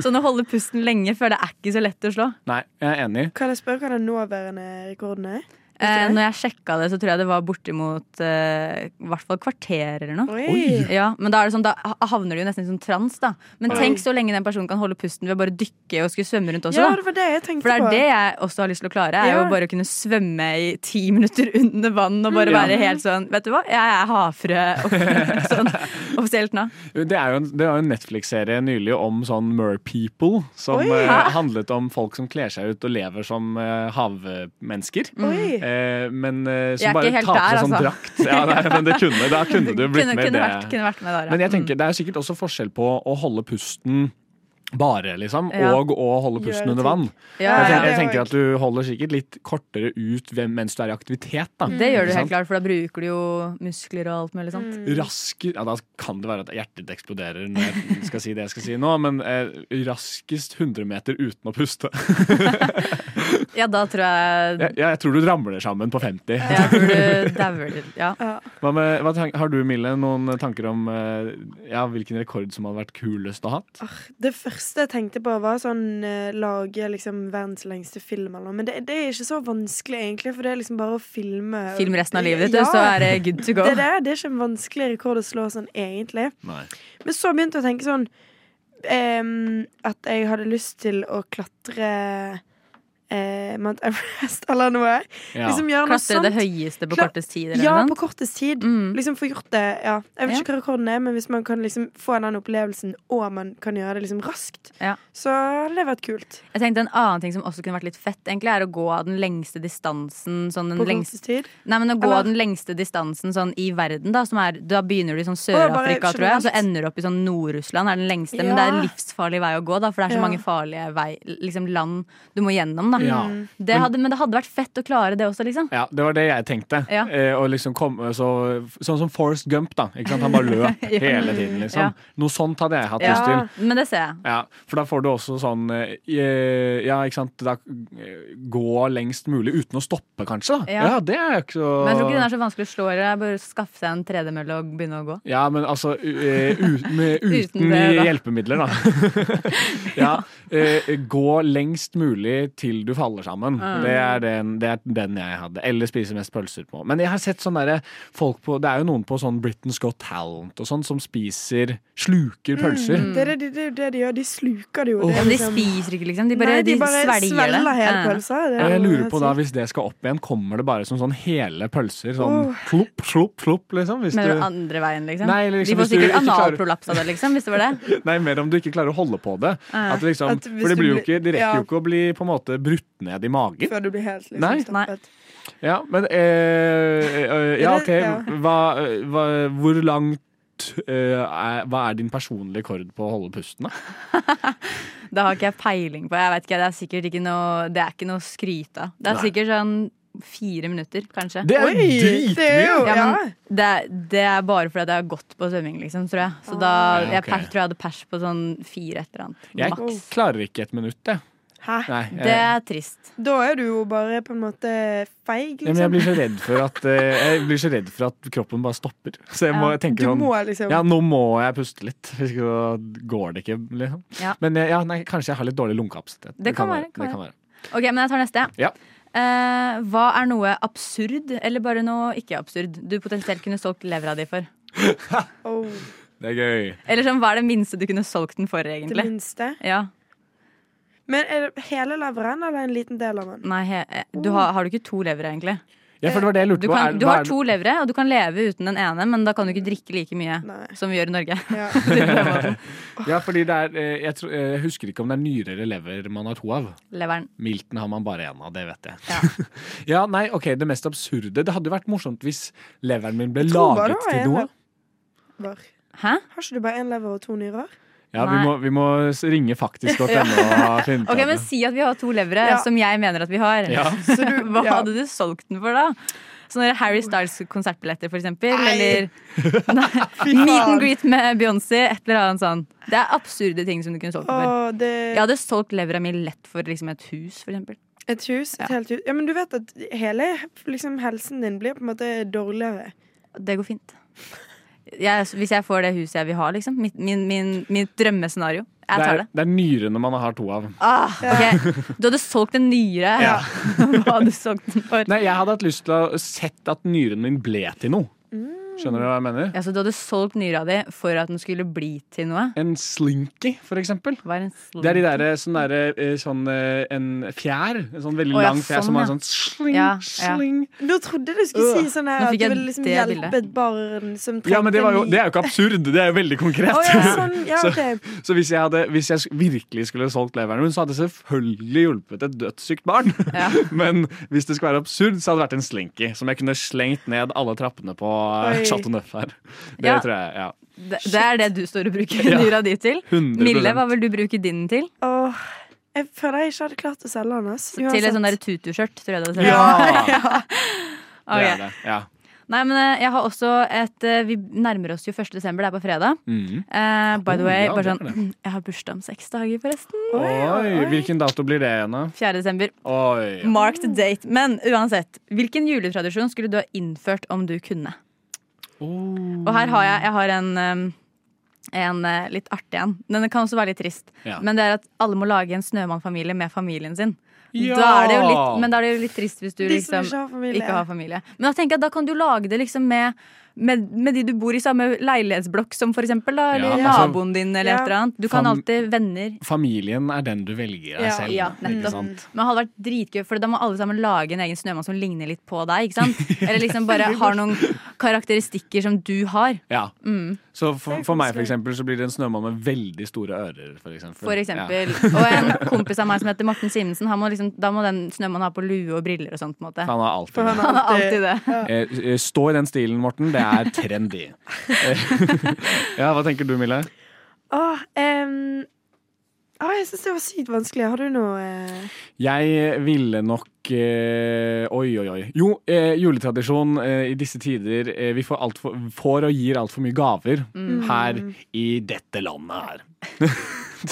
F: sånn å holde pusten lenge, for det er ikke så lett å slå.
A: Nei, jeg er enig.
G: Kan jeg spørre hva den nåværende rekorden er?
F: Eh, når jeg sjekka det, så tror jeg det var bortimot eh, i hvert fall kvarter eller noe.
M: Oi.
F: Ja, men da, er det sånn, da havner du jo nesten i sånn trans, da. Men
G: Oi.
F: tenk så lenge den personen kan holde pusten ved å bare dykke og skulle svømme rundt også,
G: Ja,
F: da.
G: det var det jeg tenkte
F: For det er
G: på.
F: det jeg også har lyst til å klare. Er jo
G: Ja.
F: bare å kunne svømme i ti minutter under vann og bare
A: Ja.
F: være helt sånn Vet du hva, jeg er havfrø off- sånn, offisielt nå.
A: Det er jo en, det var jo en Netflix-serie nylig om sånn merpeople, som
F: Oi.
A: eh,
F: Hæ?
A: handlet om folk som kler seg ut og lever som eh, havmennesker.
F: Oi.
A: Eh, men eh,
F: Jeg
A: som
F: er
A: bare
F: ikke helt
A: tar på
F: der,
A: seg sånn
F: altså.
A: drakt. Ja, nei, men det kunne, da kunne du blitt
F: Kunne,
A: med i
F: kunne,
A: det.
F: vært, kunne vært Mm. med der, ja.
A: Men jeg tenker, det er sikkert også forskjell på å holde pusten bare, liksom,
F: Ja.
A: og å holde
F: Gjøre
A: pusten under
F: ting.
A: vann.
F: Mm. Ja,
A: jeg,
F: ja,
A: tenker, jeg
F: det
A: tenker at du holder sikkert litt kortere ut hvem- mens du er i aktivitet. Da.
G: Mm.
F: Det gjør du
A: Ikke sant?
F: helt klart, for da bruker du jo muskler og alt mulig sånt.
A: Raske, ja, da kan det være at hjertet eksploderer når jeg skal si det jeg skal si nå, men eh, raskest 100 meter uten å puste.
F: Mm.
G: Mm.
F: Ja, da tror jeg
A: Jeg, jeg tror du ramler sammen på 50.
F: Jeg tror du dauer litt. Ja.
A: Hva med, hva tank, har du, Mille, noen tanker om eh, ja, hvilken rekord som hadde vært kulest å ha?
G: Det første jeg tenkte på, var sånn eh, lage liksom verdens lengste film eller noe. Men det, det er ikke så vanskelig, egentlig, for det er liksom bare å filme.
F: Film resten av livet ditt, du, så er det good to go.
G: Det er, det, det er ikke en vanskelig rekord å slå sånn, egentlig.
A: Nei.
G: Men så begynte jeg å tenke sånn ehm, At jeg hadde lyst til å klatre eh, Mount Everest eller noe.
F: Ja.
G: Liksom gjøre noe
F: Klatre det
G: sånt.
F: høyeste på
G: Kla-
F: kortest tid, eller
G: Ja,
F: noe
G: på kortest tid. Liksom få gjort det. Ja. Jeg vet
F: Mm. Ja.
G: ikke hva rekorden er, men hvis man kan liksom få den opplevelsen, og man kan gjøre det liksom raskt,
F: Ja.
G: så hadde det vært kult.
F: Jeg tenkte En annen ting som også kunne vært litt fett, egentlig er å gå av den lengste distansen sånn den
G: På
F: lengste,
G: kortest tid?
F: Nei, men Å gå
G: Eller-
F: av den lengste distansen sånn i verden, da, som er Da begynner du i sånn
G: Å, bare
F: Sør-Afrika, tror jeg, og så ender du opp i sånn Nord-Russland, er den lengste. Men det er en
G: Ja.
F: livsfarlig vei å gå, da, for det er så
G: Ja.
F: mange farlige vei, liksom land du må gjennom, da.
A: Ja.
G: Mm.
F: Det hadde, men det hadde vært fett å klare det også, liksom.
A: Ja, det var det jeg tenkte.
F: Ja.
A: Eh, og liksom kom, så, sånn som Forrest Gump, da. Ikke sant? Han bare løp
F: Ja.
A: hele tiden, liksom.
F: Ja.
A: Noe sånt hadde jeg hatt lyst
F: Ja,
A: til.
F: men det ser jeg.
A: Ja, for da får du også sånn eh, Ja, ikke sant. Da, eh, gå lengst mulig uten å stoppe, kanskje. Da. Ja.
F: Ja.
A: det er jo ikke så
F: Men jeg tror ikke den er så vanskelig å slå. eller Det er bare å skaffe seg en tredemølle og begynne å gå.
A: Ja, men altså u- eh, ut, med, uten,
F: Uten det, da.
A: hjelpemidler, da. ja, eh, gå lengst mulig til du faller sammen.
B: Mm.
A: Det, er den, det er den jeg hadde. Eller spise mest pølser på. Men jeg har sett sånne derre folk på Det er jo noen på sånn Britain's Got Talent og sånn som spiser Sluker pølser.
G: Mm. Det er det, de- det, er jo det de gjør. De sluker det jo.
A: Åh.
G: Det er
A: Men de
G: liksom-
F: spiser ikke, liksom. De bare-
G: Nei, de
F: de
G: bare
F: svelger det.
G: svelger hele
F: Ja.
G: pølsa. Det er
A: Og jeg
G: jo
A: lurer
G: helt
A: på da,
G: sykt.
A: Hvis det skal opp igjen, kommer det bare som sånn hele pølser? Sånn
F: Åh.
A: plopp, plopp, plopp, liksom? Hvis
F: Mener
A: du-
F: du andre veien, liksom?
A: Nei, eller liksom
F: de
A: hvis
F: får
A: du
F: sikkert
A: ikke klarer-
F: analprolaps av det, liksom, hvis det var det.
A: Nei, mer om du ikke klarer å holde på det.
F: Ja.
A: At liksom,
F: At hvis
A: for det
F: du
A: blir jo
F: blir-
A: ikke, de rekker
F: ja.
A: jo ikke å bli på en måte brutt ned i magen.
G: Før du blir helt liksom,
A: Nei.
G: stappet.
A: Ja, men eh, eh, Ja, OK.
G: Ja.
A: Hva, eh, hva, hvor langt eh, er, Hva er din personlige rekord på å holde pusten, da?
F: Det har ikke jeg peiling på. Jeg vet ikke, Det er sikkert ikke noe Det er ikke noe å skryte av. Det er
A: Nei.
F: sikkert sånn fire minutter, kanskje.
A: Det er Oi, dritmye! det er jo-
F: Ja, men
A: ja.
F: det, er- det er bare fordi at jeg har gått på svømming, liksom, tror jeg. Så da
A: Ah.
F: jeg
A: Ok.
F: per, tror jeg hadde pers på sånn fire et eller annet.
A: Jeg
F: Maks.
A: klarer ikke et minutt, jeg.
G: Hæ?
A: Nei, jeg-
F: Det er trist.
G: Da er du jo bare på en måte feig,
A: Ja,
G: liksom.
A: men jeg blir så redd for at eh, Jeg blir så redd for at kroppen bare stopper. Så jeg må
G: Ja.
A: tenke
G: Du
A: sånn
G: må liksom-
A: Ja, nå må jeg puste litt. Hvis ikke så går det ikke, liksom.
F: Ja.
A: Men eh, ja, nei, kanskje jeg har litt dårlig lungekapasitet.
F: Det kan være, kan
A: Det kan
F: være.
A: være.
F: Ok, men jeg tar neste.
A: Ja.
F: Eh, hva er noe absurd, eller bare noe ikke absurd, du potensielt kunne solgt levra di for?
A: Det er gøy.
F: Eller sånn, hva er det minste du kunne solgt den for, egentlig?
G: Det minste?
F: Ja.
G: Men er det hele leveren eller en liten del av den?
F: Nei, he, eh, du har, har du ikke to levere, egentlig?
A: Ja, for det var det jeg lurte
F: Eh, Du,
A: på.
F: kan,
A: Er-
F: du
A: hva
F: har
A: er det-
F: to levere, og du kan leve uten den ene, men da kan du ikke drikke like mye som vi gjør i Norge.
A: ja, fordi det er eh, jeg, tror, eh, jeg husker ikke om det er nyrer eller lever man har to av.
F: Leveren.
A: Milten har man bare én av, det vet jeg. Ja. nei, ok, Det mest absurde Det hadde jo vært morsomt hvis leveren min ble
G: Jeg tror
A: laget
G: bare det var
A: til
G: en
A: noe.
G: lever.
F: Hæ?
G: Har ikke du bare én lever og to nyrer?
A: Ja, vi
F: Nei.
A: må, vi må s- ringe faktisk.no
F: Ja.
A: og finne ut
F: Ok,
A: av
F: Men
A: det.
F: si at vi har to levere,
G: Ja.
F: som jeg mener at vi har.
A: Ja.
G: Så du-
F: Hva
G: ja.
F: hadde du solgt den for, da? Sånne Harry Styles-konsertbilletter, for eksempel.
G: Nei.
F: Eller
G: Fy
F: meet and
G: faen.
F: greet med Beyoncé. Et eller annet sånn. Det er absurde ting som du kunne solgt den for.
G: Åh, det-
F: Jeg hadde solgt levra mi lett for liksom, et hus, for eksempel.
G: Et hus? Et
F: Ja.
G: helt hus? Ja, men du vet at hele liksom, helsen din blir på en måte dårligere.
F: Det går fint. Jeg, hvis jeg får det huset jeg vil ha, liksom. Mitt, min, min, mitt drømmescenario. Jeg tar
A: er,
F: det.
A: det er nyrene man har to av.
F: Ah, ok. Du hadde solgt en nyre.
A: Ja.
F: Hva hadde du solgt den for?
A: Nei, Jeg hadde hatt lyst til å sett at nyren min ble til noe.
F: Mm.
A: Skjønner du hva jeg mener?
F: Ja, så du hadde solgt nyra di for at den skulle bli til noe?
A: En slinky, for eksempel.
F: Hva er en slinky?
A: Det er de der, sånn derre eh, sånn, eh, En fjær. En sånn veldig
F: Å, ja,
A: lang fjær som har en sånn
G: sling,
F: ja,
G: sling. Nå trodde du skulle si sånn her
F: Nå
G: at
F: fikk
G: du
F: jeg
G: ville liksom
F: det
G: hjelpe
F: bildet.
G: et barn som trengte
A: Ja, men det, var jo,
G: ny-
A: det er jo ikke absurd, det er jo veldig konkret.
G: Å, ja, sånn, ja,
A: så,
G: ok.
A: så hvis jeg, hadde, hvis jeg virkelig skulle solgt leveren min, så hadde jeg selvfølgelig hjulpet et dødssykt barn. Men hvis det skal være absurd, så hadde det vært en slinky som jeg kunne slengt ned alle trappene på eh,
F: Oi.
A: Chateau Neuf her. Det
F: Ja.
A: tror jeg, ja.
F: Det, det er det du står og bruker
A: Ja.
F: nyra di til.
A: 100%.
F: Mille, hva vil du bruke din til?
G: Åh, jeg føler jeg ikke hadde klart å selge den. ass.
F: Til et
G: Uansett.
F: sånn der tutu-skjørt, tror jeg det hadde
G: Ja.
F: sett ut som.
A: Det
F: Ok.
A: er det. Ja.
F: Nei, men eh, jeg har også et eh, Vi nærmer oss jo 1. desember, det er på fredag.
A: Mhm.
F: Eh, by the
A: Oh,
F: way,
A: ja,
F: bare
A: det er
F: sånn Jeg har bursdag om seks dager, forresten.
A: Oi, hvilken dato blir det igjen, da?
F: 4. desember.
A: Oi.
F: Marked date. Men uansett, hvilken juletradisjon skulle du ha innført om du kunne?
A: Oh.
F: Og her har jeg, jeg har en, um, en uh, litt artig en. Den kan også være litt trist.
M: Ja.
F: Men det er at alle må lage en snømannfamilie med familien sin.
M: Ja!
F: Da er det jo litt, men da er det jo litt trist hvis du
M: De som
F: liksom
M: ikke har familie.
F: ikke har familie. Men da tenker jeg at da kan du lage det liksom med, med, med de du bor i samme leilighetsblokk som, for eksempel. Da,
A: Ja,
F: eller
A: altså-
F: naboen din, eller
A: Ja.
F: et eller annet. Du kan
A: Fam-
F: alltid venner.
A: Familien er den du velger deg
F: Ja,
A: selv.
F: ja,
A: ikke
F: nettopp. Mm.
A: sant?
F: Men det hadde vært dritgøy, for da må alle sammen lage en egen snømann som ligner litt på deg. ikke sant? Eller liksom bare har noen karakteristikker som du har.
A: Ja.
F: Mm.
A: Så for, for meg for eksempel, så blir det en snømann med veldig store ører. For eksempel.
F: For eksempel.
A: Ja.
F: Og en kompis av meg som heter Morten Simensen, han må liksom, da må den snømannen ha på lue og briller og sånt. på en måte.
A: Han har alltid det.
F: Han har alltid det.
A: Eh, eh, Stå i den stilen, Morten. Det er trendy. Eh, ja, hva tenker du, Mille?
G: Åh, em, åh, jeg syns det var sykt vanskelig. Har du noe eh?
A: Jeg ville nok eh, Oi, oi, oi. Jo, eh, juletradisjon eh, i disse tider eh, Vi får, alt for, får og gir altfor mye gaver
F: Mm.
A: her i dette landet her.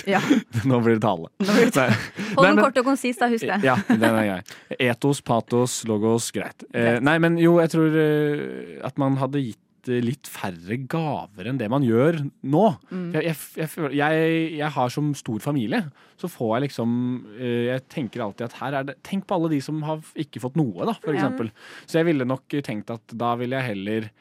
F: Ja.
A: Nå blir det tale. Nei.
F: Hold
A: Nei,
F: den
A: men-
F: kort og konsis, da. Husk det.
A: Ja, den er grei. Etos, patos, logos, greit. Eh, nei, men jo, jeg tror eh, at man hadde gitt eh, litt færre gaver enn det man gjør nå.
N: Mm.
A: Jeg, jeg, jeg, føler- jeg, jeg har som stor familie, så får jeg liksom eh, Jeg tenker alltid at her er det Tenk på alle de som har ikke fått noe, da, for
N: Ja.
A: eksempel. Så jeg ville nok tenkt at da ville jeg heller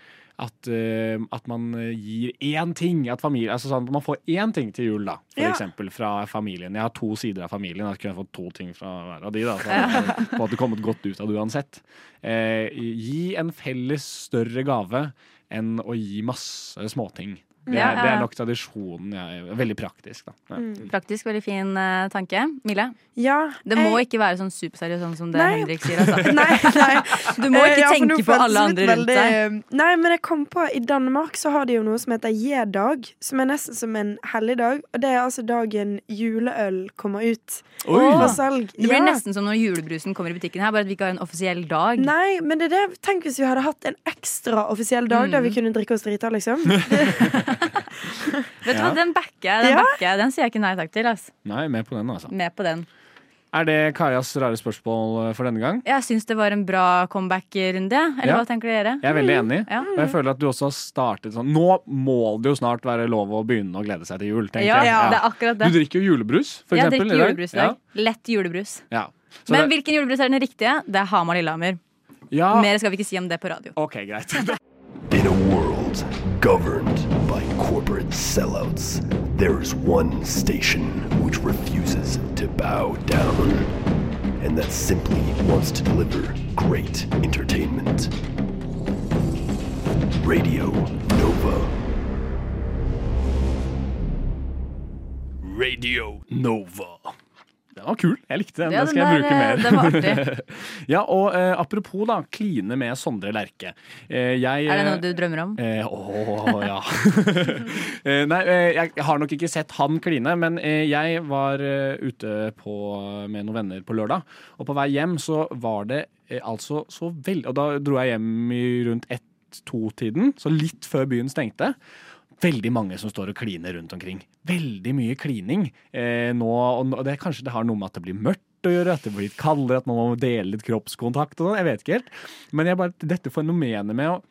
A: at, eh, at man gir én ting. At familie, altså sånn at man får én ting til jul, da. For
N: Ja.
A: eksempel fra familien. Jeg har to sider av familien. Jeg kunne fått to ting fra hver av de. da så hadde jeg på en måte kommet godt ut av det uansett. Eh, gi en felles større gave enn å gi masse småting. Det er,
F: Ja, ja,
A: det
F: ja.
A: er nok tradisjonen. Jeg, veldig praktisk, da. Ja.
F: Praktisk, veldig fin eh, tanke. Mille? det
G: jeg-
F: må ikke være sånn superseriøs sånn som det
G: Eh, Nei.
F: Henrik sier. Altså.
G: Nei, nei.
F: Du må
G: Eh,
F: ikke
G: ja, for nå
F: tenke på
G: føltes
F: alle
G: det
F: andre rundt
G: veldig- eh,
F: deg.
G: Nei, men jeg kom på I Danmark så har de jo noe som heter J-dag, som er nesten som en helligdag. Og det er altså dagen juleøl kommer ut
F: Åh,
G: for salg.
F: Det blir
G: Ja.
F: nesten som når julebrusen kommer i butikken her, bare at vi ikke har en offisiell dag.
G: Nei, men det er det. Tenk hvis vi hadde hatt en ekstra offisiell dag der
F: Mm.
G: vi kunne drikke oss drita, liksom.
F: Vet du hva,
A: Ja.
F: den backer jeg. Den,
G: Ja.
F: backer jeg. den sier jeg ikke nei takk til. ass.
A: Nei, med på den, altså.
F: Med på den.
A: Er det Kajas rare spørsmål eh, for denne gang?
F: Jeg syns det var en bra comeback-runde. ja. Eller
A: Ja.
F: hva tenker dere?
A: Jeg er veldig enig.
F: Mm, Ja.
A: Og jeg føler at du også har startet sånn Nå må det jo snart være lov å begynne å glede seg til jul, tenker
F: Ja,
A: jeg.
F: det er akkurat det.
A: Du drikker jo julebrus, for
F: jeg
A: eksempel.
F: drikker julebrus i dag.
A: Ja.
F: Lett julebrus.
A: Ja. Så
F: Men
A: det-
F: hvilken julebrus er den riktige? Det er Hamar Lillehammer.
A: Ja.
F: Mer skal vi ikke si om det på radio.
A: Ah. Ok, greit.
O: In a world governed by corporate sellouts, there is one station which refuses to bow down, and that simply wants to deliver great entertainment. Radio Nova.
A: Radio Nova. Den var kul. Jeg likte den.
N: Ja,
A: den skal
N: den
A: jeg bruke
N: der,
A: mer.
N: eh, den var artig.
A: ja, og eh, apropos da, kline med Sondre Lerche. Eh, jeg,
F: Er det noe du drømmer om?
A: Eh, å, ja. Eh, Nei, eh, jeg har nok ikke sett han kline, men eh, jeg var eh, ute på, med noen venner på lørdag, og på vei hjem så var det eh, altså så veldig Og da dro jeg hjem i rundt ett-to-tiden, så litt før byen stengte. Veldig mange som står og kliner rundt omkring. Veldig mye klining eh, nå. Og nå- og det, kanskje det har noe med at det blir mørkt å gjøre, at det blir litt kaldere, at man må dele litt kroppskontakt og sånn. Jeg vet ikke helt. Men jeg bare, dette fenomenet med å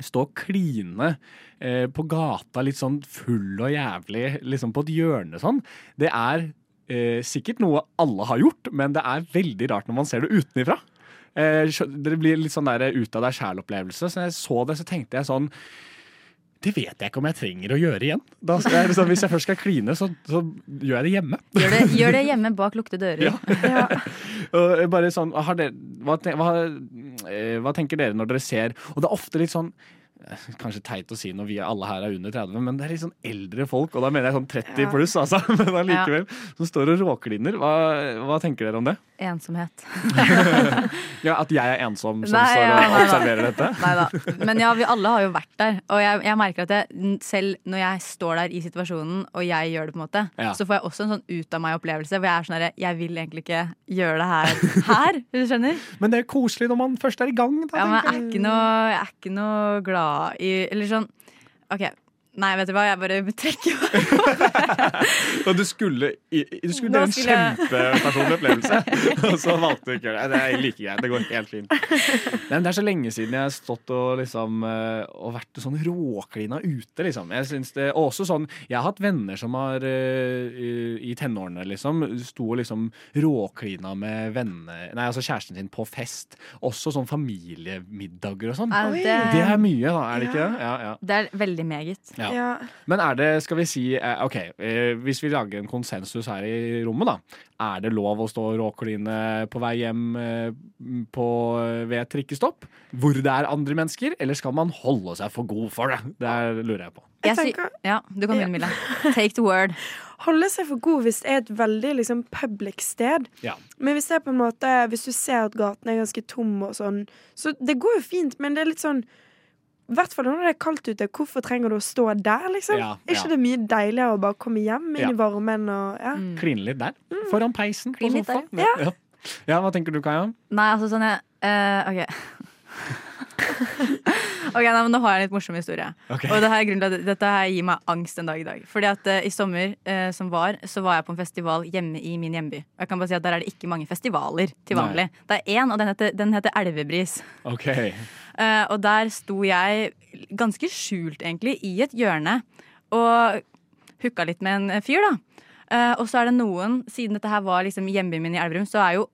A: stå og kline eh, på gata litt sånn full og jævlig, liksom på et hjørne sånn, det er eh, sikkert noe alle har gjort, men det er veldig rart når man ser det utenifra. Eh, skjø- det blir litt sånn der ut av deg sjæl-opplevelse. Så når jeg så det, så tenkte jeg sånn det vet jeg ikke om jeg trenger å gjøre igjen. Da, så jeg, liksom, hvis jeg først skal kline, så, så gjør jeg det hjemme.
F: Gjør det, gjør det hjemme bak lukkede dører.
A: Og jeg bare sånn, har dere, hva, ten- hva, eh, hva tenker dere når dere ser Og det er ofte litt sånn eh, Kanskje teit å si når vi alle her er under 30, men det er litt sånn eldre folk, og da mener jeg sånn 30
F: Ja.
A: pluss, altså. Men allikevel.
F: Ja.
A: Som står og råkliner. Hva, hva tenker dere om det?
F: Ensomhet.
A: Ja, At jeg er ensom som
F: Nei,
A: står
F: ja,
A: og
F: nei da.
A: observerer dette?
F: Neida. Men ja, vi alle har jo vært der. Og jeg, jeg merker at jeg, selv når jeg står der i situasjonen, og jeg gjør det, på en måte,
A: Ja.
F: så får jeg også en sånn ut av meg-opplevelse. Hvor jeg er sånn herre, jeg vil egentlig ikke gjøre det her. her hvis du skjønner?
A: Men det er koselig når man først er i gang. Da,
F: Ja, men jeg er
A: tenker
F: ikke noe, jeg er ikke noe glad i Eller sånn OK. Nei, vet du hva, jeg bare trekker meg.
A: Og du skulle, i- i- du skulle
F: Nå
A: gjøre en
F: skulle jeg-
A: kjempepersonlig opplevelse, og så valgte du ikke å gjøre det. Nei, Det er like greit. Det går helt fint. Nei, men det er så lenge siden jeg har stått og, liksom, eh, og vært sånn råklina ute, liksom. Jeg syns det, og også sånn, jeg har hatt venner som har eh, i tenårene, liksom, sto og liksom råklina med venner, nei, altså kjæresten sin på fest. Også sånn familiemiddager og sånn.
F: Ja,
A: det...
F: det-
A: er mye, da, er det ikke det? Ja, ja.
F: Det er veldig meget.
A: Ja. Men er det, skal vi si eh, OK, eh, hvis vi lager en konsensus her i rommet, da. Er det lov å stå og råkline på vei hjem eh, på, eh, ved et trikkestopp? Hvor det er andre mennesker? Eller skal man holde seg for god for det? Det er, lurer jeg på.
F: Jeg sy- ja, du kan begynne, Mille. Take the word.
G: Holde seg for god hvis det er et veldig liksom, public sted.
A: Ja.
G: Men hvis det er på en måte Hvis du ser at gaten er ganske tom og sånn Så det går jo fint, men det er litt sånn I hvert fall når det er kaldt ute, hvorfor trenger du å stå der, liksom?
A: Ja,
G: Er
A: ja.
G: ikke det mye deiligere å bare komme hjem inn
A: Ja.
G: i varmen og ja.
F: Mm.
A: Kline litt der. Foran peisen på
F: Kline litt
A: sofaen.
F: der, ja.
A: Ja. ja, hva tenker du, Kaja?
F: Nei, altså sånn jeg eh, OK. ok, nei, men Nå har jeg en litt morsom historie.
M: Ok.
F: Og det her er grunnen til at dette her gir meg angst en dag i dag. Fordi at eh, I sommer eh, som var, så var jeg på en festival hjemme i min hjemby. Og jeg kan bare si at Der er det ikke mange festivaler til
A: Nei.
F: vanlig. Det er én, og den heter, den heter Elvebris.
A: OK.
F: Eh, og der sto jeg ganske skjult, egentlig, i et hjørne og hooka litt med en fyr, da. Eh, og så er det noen, siden dette her var liksom hjembyen min i Elverum, så er jo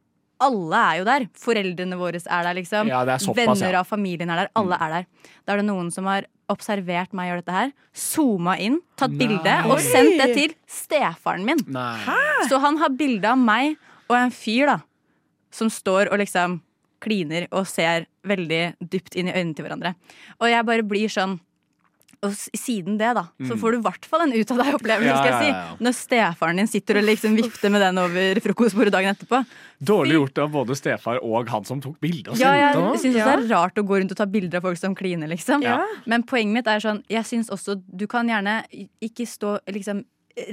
F: alle er jo der. Foreldrene våre er der, liksom.
M: Ja, Mm. det er såpass,
F: Venner
M: ja.
F: av familien er der. Alle er der. Da er det noen som har observert meg gjøre dette her, zooma inn, tatt
M: Nei.
F: bilde og
M: Oi.
F: sendt det til stefaren min. Så han har bilde av meg og en fyr, da, som står og liksom kliner og ser veldig dypt inn i øynene til hverandre. Og jeg bare blir sånn og s- siden det, da, så
M: Mm.
F: får du i hvert fall en ut av deg-opplevelse,
A: Ja,
F: skal jeg si.
A: ja, ja, ja.
F: Når stefaren din sitter og liksom vifter med den over frokostbordet dagen etterpå.
A: Dårlig gjort av både stefar og han som tok bilde. og
F: Ja, jeg
A: sendte det.
F: syns også det er rart å gå rundt og ta bilder av folk som kliner, liksom.
A: Ja.
F: Men poenget mitt er sånn, jeg syns også du kan gjerne ikke stå liksom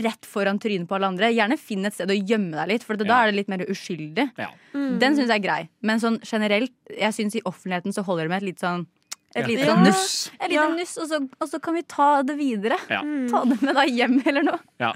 F: rett foran trynet på alle andre. Gjerne finn et sted å gjemme deg litt, for da
M: Ja.
F: er det litt mer uskyldig.
M: Mm.
F: Den syns jeg er grei. Men sånn generelt, jeg syns i offentligheten så holder det med et litt sånn et
M: Ja.
F: lite
M: Ja.
F: sånn
M: Nuss.
F: Et lite nuss, og så, og så kan vi ta det videre.
A: Ja.
F: Ta det med deg hjem eller noe.
A: Ja.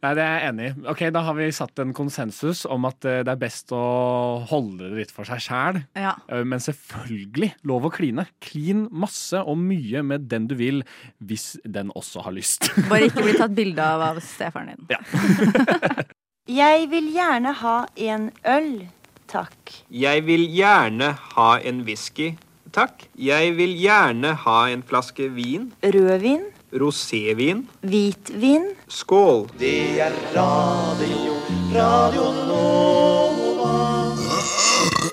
A: Nei, det er jeg enig i. Ok, Da har vi satt en konsensus om at eh, det er best å holde det litt for seg sjæl.
F: Ja.
A: Eh, Men selvfølgelig lov å kline. Klin masse og mye med den du vil, hvis den også har lyst.
F: Bare ikke bli tatt bilde av av stefaren din.
N: Jeg vil gjerne ha en øl, takk.
P: Jeg vil gjerne ha en whisky, takk. Jeg vil gjerne ha en flaske vin.
N: Rødvin,
P: Rosévin.
N: hvitvin.
P: Skål.
N: Det er radio, radio Nova.
A: Åh,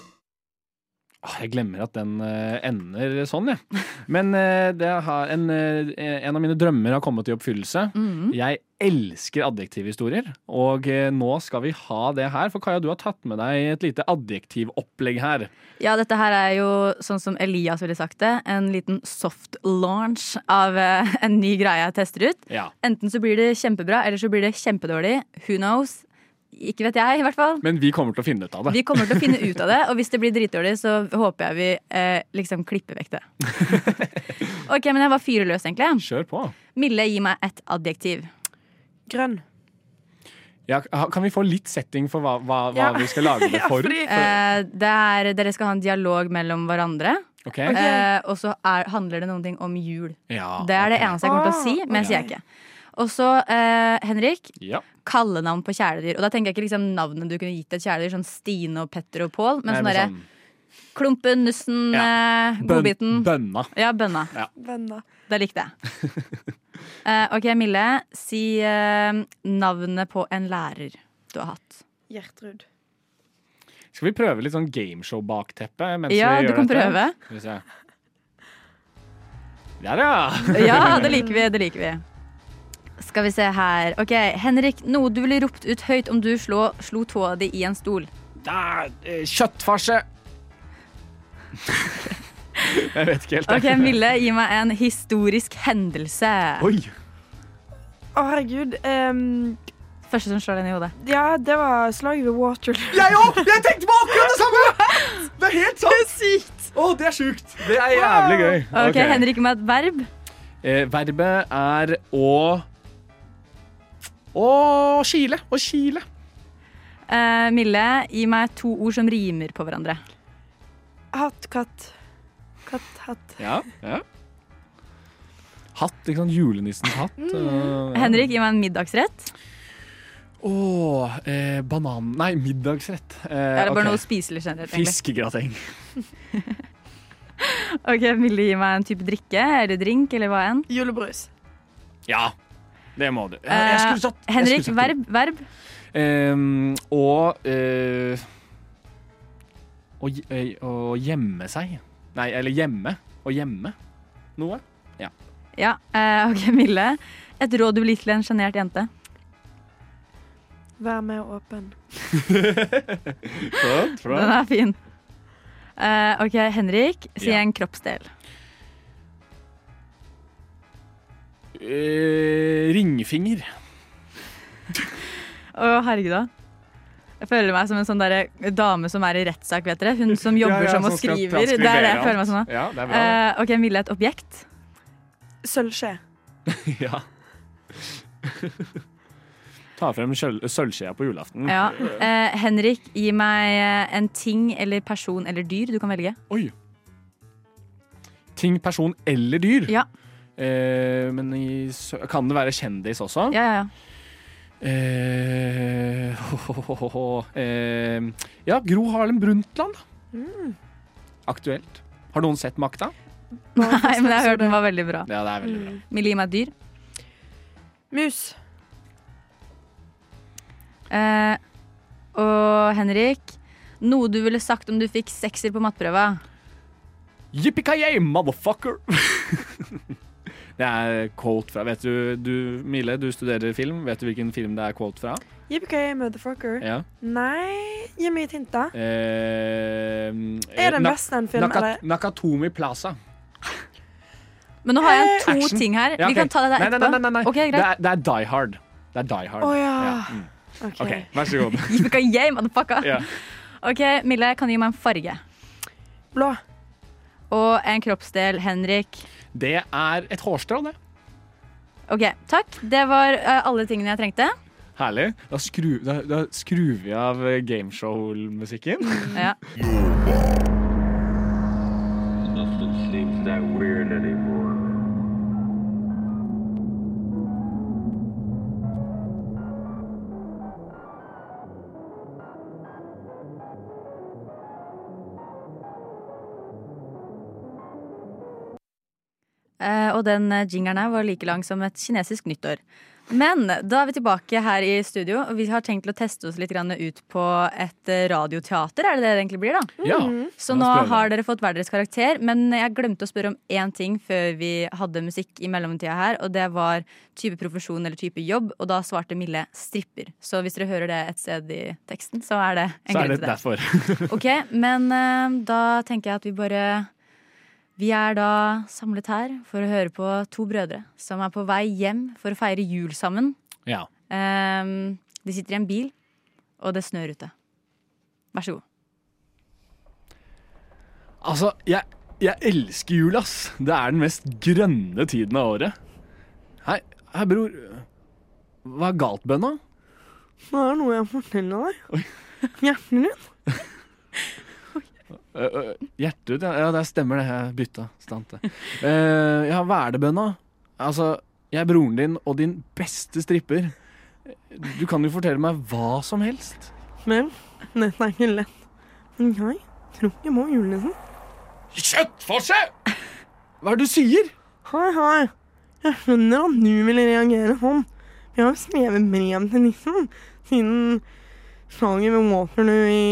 A: Ah, Jeg glemmer at den eh, ender sånn, jeg. Men eh, det har en, eh, en av mine drømmer har kommet i oppfyllelse.
M: Mhm.
A: Jeg elsker adjektivhistorier, og eh, nå skal vi ha det her. For Kaja, du har tatt med deg et lite adjektivopplegg her.
F: Ja, dette her er jo, sånn som Elias ville sagt det, en liten soft launch av eh, en ny greie jeg tester ut.
A: Ja.
F: Enten så blir det kjempebra, eller så blir det kjempedårlig. Who knows? Ikke vet jeg, i hvert fall.
A: Men vi kommer til å finne ut av det.
F: Vi kommer til å finne ut av det, og hvis det blir dritdårlig, så håper jeg vi eh, liksom klipper vekk det. Ok, men jeg var fyrer løs, egentlig.
A: Kjør på.
F: Mille, gi meg et adjektiv.
G: Grønn.
A: Ja, kan vi få litt setting for hva, hva, hva
F: Ja.
A: vi skal lage det for?
F: Eh, det er, dere skal ha en dialog mellom hverandre.
A: Ok.
F: Eh, og så er, handler det noen ting om jul.
A: Ja,
F: det er det
A: Ah, ok.
F: eneste jeg kommer til å si,
A: Ah,
F: men jeg
A: ok.
F: sier jeg ikke. Og så, eh, Henrik,
A: Ja.
F: kallenavn på kjæledyr. Og da tenker jeg ikke liksom navnet du kunne gitt et kjæledyr, sånn Stine og Petter og Pål, men
A: Nei,
F: sånn
A: men
F: derre Klumpen, Nussen, eh, Godbiten.
A: Bønna.
F: Ja, Bønna.
A: Ja.
F: Det likte jeg. Eh, ok, Mille. Si eh, navnet på en lærer du har hatt.
G: Gjertrud.
A: Skal vi prøve litt sånn gameshow-bakteppe? mens
F: Ja,
A: vi
F: du
A: gjør
F: kan
A: dette?
F: prøve.
A: Skal vi se. Der, ja.
F: Ja, det liker vi. det liker vi Skal vi se her. Ok, Henrik, noe du ville ropt ut høyt om du slå, slo tåa di i en stol.
A: Der, eh, kjøttfarse! Jeg vet ikke helt.
F: Ok, Mille, gi meg en historisk hendelse.
A: Oi!
G: Å, herregud. ehm,
F: Første som slår den i hodet.
G: ja, det var slaget ved Waterloo.
A: Jeg òg! Jeg tenkte på akkurat det samme! Det er helt sant! Det er
F: sykt.
A: Å, det er sjukt. Det er jævlig gøy.
F: Ok, Henrik med et verb.
A: Eh, verbet er å Å kile. Å kile.
F: Eh, Mille, gi meg to ord som rimer på hverandre.
G: Hatt, katt. Katt, hatt.
A: Ja, ja. Hatt, ikke sant. Julenissens hatt. eh, ja.
F: Mm. Henrik, gi meg en middagsrett.
A: Å, eh, banan... Nei, middagsrett. Eh,
F: Eller bare
A: ok.
F: noe spiselig generelt. egentlig.
A: Fiskegrateng.
F: Ok, Mille, gi meg en type drikke eller drink eller hva enn.
G: Julebrus.
A: Ja, det må du.
F: Eh,
A: Jeg skulle sagt- jeg
F: Henrik,
A: skulle sagt
F: verb. verb.
A: Ehm, og eh, å, gj- eh, å gjemme seg. Nei, eller gjemme. Å gjemme noe. Ja.
F: Ja, eh, ok, Mille. Et råd du vil gi til en sjenert jente.
G: Vær mer åpen.
A: Flott,
F: Den er fin. Eh, ok, Henrik, si
A: Ja.
F: en kroppsdel.
A: Eh, ringfinger.
F: Å, herregud, da. Jeg føler meg som en sånn derre dame som er i rettssak, vet dere. Hun som jobber
A: Ja, ja,
F: som og
A: som skal
F: skriver. Det er det jeg
A: transkribere
F: føler meg som nå.
A: alt. Ja, det er bra,
F: Eh, ok, Mille, et objekt.
G: Sølvskje.
A: ja. Ta frem kjøl- sølvskjea på julaften.
F: Ja. Eh, Henrik, gi meg eh, en ting eller person eller dyr du kan velge.
A: Oi. Ting, person eller dyr.
F: Ja.
A: Eh, men i, sø- kan det være kjendis også?
F: Ja, ja, ja.
A: Eh, eh, ja, Gro Harlem Brundtland.
F: Mm.
A: Aktuelt. Har noen sett Makta?
F: Nei, men jeg har hørt den var veldig bra.
A: Ja, det er veldig bra.
F: Mille, gi meg et dyr.
G: Mus.
F: Eh, og Henrik, noe du ville sagt om du fikk sekser på matteprøva?
A: Yippee-ki-yay, motherfucker! det er quote fra Vet du, du, Mille, du studerer film. Vet du hvilken film det er quote fra?
G: Yippee-ki-yay, motherfucker.
A: Ja.
G: Nei Gi meg et hint, da.
A: Eh,
G: Er det en
A: Na-
G: westernfilm,
A: Naka-
G: eller?
A: Nakatomi Plaza.
F: Men nå har jeg to
A: Action.
F: ting her.
A: Ja,
F: Vi
A: ok.
F: kan ta det der
A: Nei, nei,
F: etterpå.
A: Nei, nei, nei.
F: Ok, greit.
A: Det, er, det er Die Hard. Det er Die Hard.
F: Å, ja.
A: mm.
G: OK.
A: OK, vær så god.
F: You can yay, motherfucker.
A: ja.
F: Ok, Mille, kan du gi meg en farge?
G: Blå.
F: Og en kroppsdel, Henrik.
A: Det er et hårstrå, det.
F: Ok, takk. Det var eh, alle tingene jeg trengte.
A: Herlig. Da, skru, da, da skrur vi av eh, gameshow-musikken.
G: Mm.
F: Ja.
M: Nothing seems that weird anymore.
F: Eh, og den eh, jingeren her var like lang som et kinesisk nyttår. Men da er vi tilbake her i studio, og vi har tenkt til å teste oss litt grann ut på et eh, radioteater. Er det det det egentlig blir, da?
A: Ja.
F: Så
A: La
F: nå
A: oss prøve.
F: har dere fått hver deres karakter, men jeg glemte å spørre om én ting før vi hadde musikk i mellomtida her, og det var type profesjon eller type jobb, og da svarte Mille stripper. Så hvis dere hører det et sted i teksten, så er det
A: Så
F: en
A: er
F: grunn
A: det
F: til det.
A: derfor.
F: Ok, men eh, da tenker jeg at vi bare Vi er da samlet her for å høre på to brødre som er på vei hjem for å feire jul sammen.
A: ja.
F: Ehm, de sitter i en bil, og det snør ute. Vær så god.
A: Altså, jeg, jeg elsker jul, ass. Det er den mest grønne tiden av året. Hei, hei bror. Hva er galt, bønna?
G: Det er noe jeg må fortelle deg. Hjernen din.
A: Eh, eh, Hjerterud, ja. ja. Det stemmer, det. Jeg bytta stante. Eh, ja, Verdebønna. Altså, jeg er broren din og din beste stripper. Du kan jo fortelle meg hva som helst.
G: Men dette er ikke lett. Men jeg tror jeg må liksom. julenissen.
A: Kjøttforse! Hva er det du sier?
G: Hei, hei. Jeg skjønner at du vil reagere sånn. Vi har jo skrevet brev til nissen siden slaget ved Waterloo i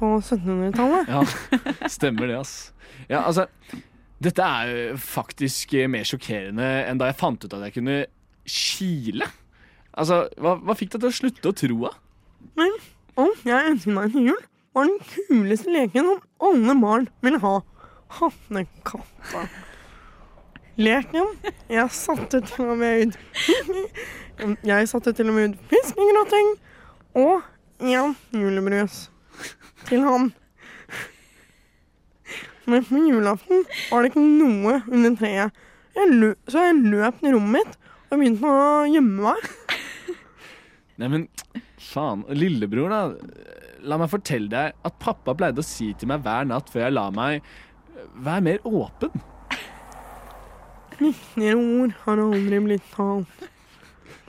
G: på 1700-tallet.
A: Ja, stemmer det, ass. Ja, altså, dette er jo faktisk eh, mer sjokkerende enn da jeg fant ut at jeg kunne kile. Altså, hva, hva fikk deg til å slutte å tro, da?
G: Men om jeg ønsket meg til jul, var den kuleste leken som alle barn ville ha. Hattekatta. Leken jeg satte til og med ut Jeg satte til og med ut fiskegrateng og en julebrus til han. Men på julaften var det ikke noe under treet. Jeg lø så jeg løp til rommet mitt og begynte å gjemme meg.
A: Nei, men faen. Lillebror, da. La meg fortelle deg at pappa pleide å si til meg hver natt før jeg la meg, vær mer åpen.
G: Dine ord har aldri blitt talt.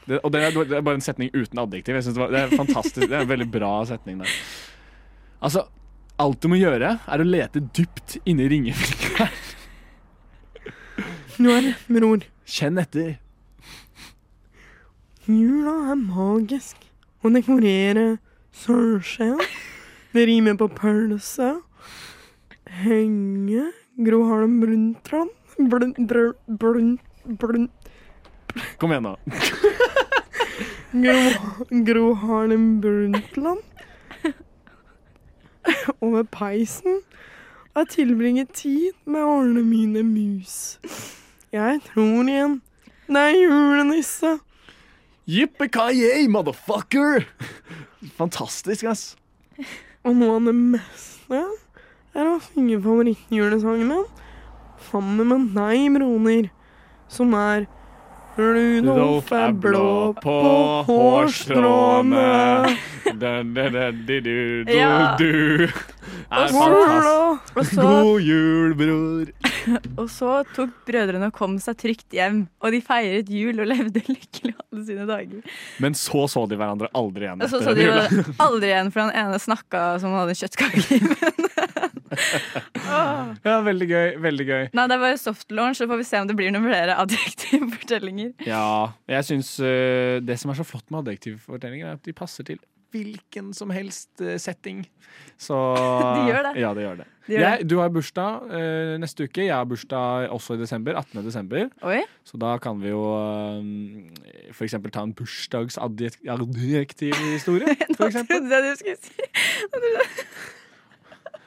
A: Det, og det er, det er bare en setning uten adjektiv. Jeg synes det, var, det er fantastisk. Det er en veldig bra setning der. Altså, alt du må gjøre, er å lete dypt inni ringefingeren.
G: Når, bror,
A: Kjenn etter.
G: jula er magisk. Å dekorere sølvskjeen. Det rimer på pølse. Henge. Gro Harlem Brundtland. Blund... Brund... Brund... Brund...
A: Kom igjen, nå.
G: Gro, Gro Harlem Brundtland. Over peisen. Jeg tilbringer tid med alle mine mus. Jeg tror igjen. Det er julenisse.
A: Yippee-ki-yay, motherfucker! Fantastisk, ass.
G: Og noe av det meste er å synge favorittjulesangen min sammen med deg, broner, som er Rudolf er blå på hårstråene.
A: Du-du-du-du-du.
F: Ja.
A: Er
F: så-
A: fantastisk.
F: Og så-
A: God jul, bror.
F: Og så tok brødrene og kom seg trygt hjem, og de feiret jul og levde lykkelig alle sine dager.
A: Men så så de hverandre aldri igjen.
F: Og så
A: etter
F: så de
A: den
F: jo
A: jula.
F: aldri igjen, for han ene snakka som han hadde kjøttkake i munnen. Åh.
A: Ja, veldig gøy. Veldig gøy.
F: Nei, det var jo soft launch, så får vi se om det blir noen flere adjektive fortellinger.
A: Ja, jeg syns øh, det som er så flott med adjektivfortellinger, er at de passer til hvilken som helst øh, setting. Så
F: De gjør det.
A: Ja, de gjør det.
F: De gjør
A: jeg, du har bursdag øh, neste uke. Jeg har bursdag også i desember. 18. desember.
F: Oi.
A: Så da kan vi jo øh, for eksempel ta en bursdagsadjektivhistorie.
F: Nå trodde jeg du skulle si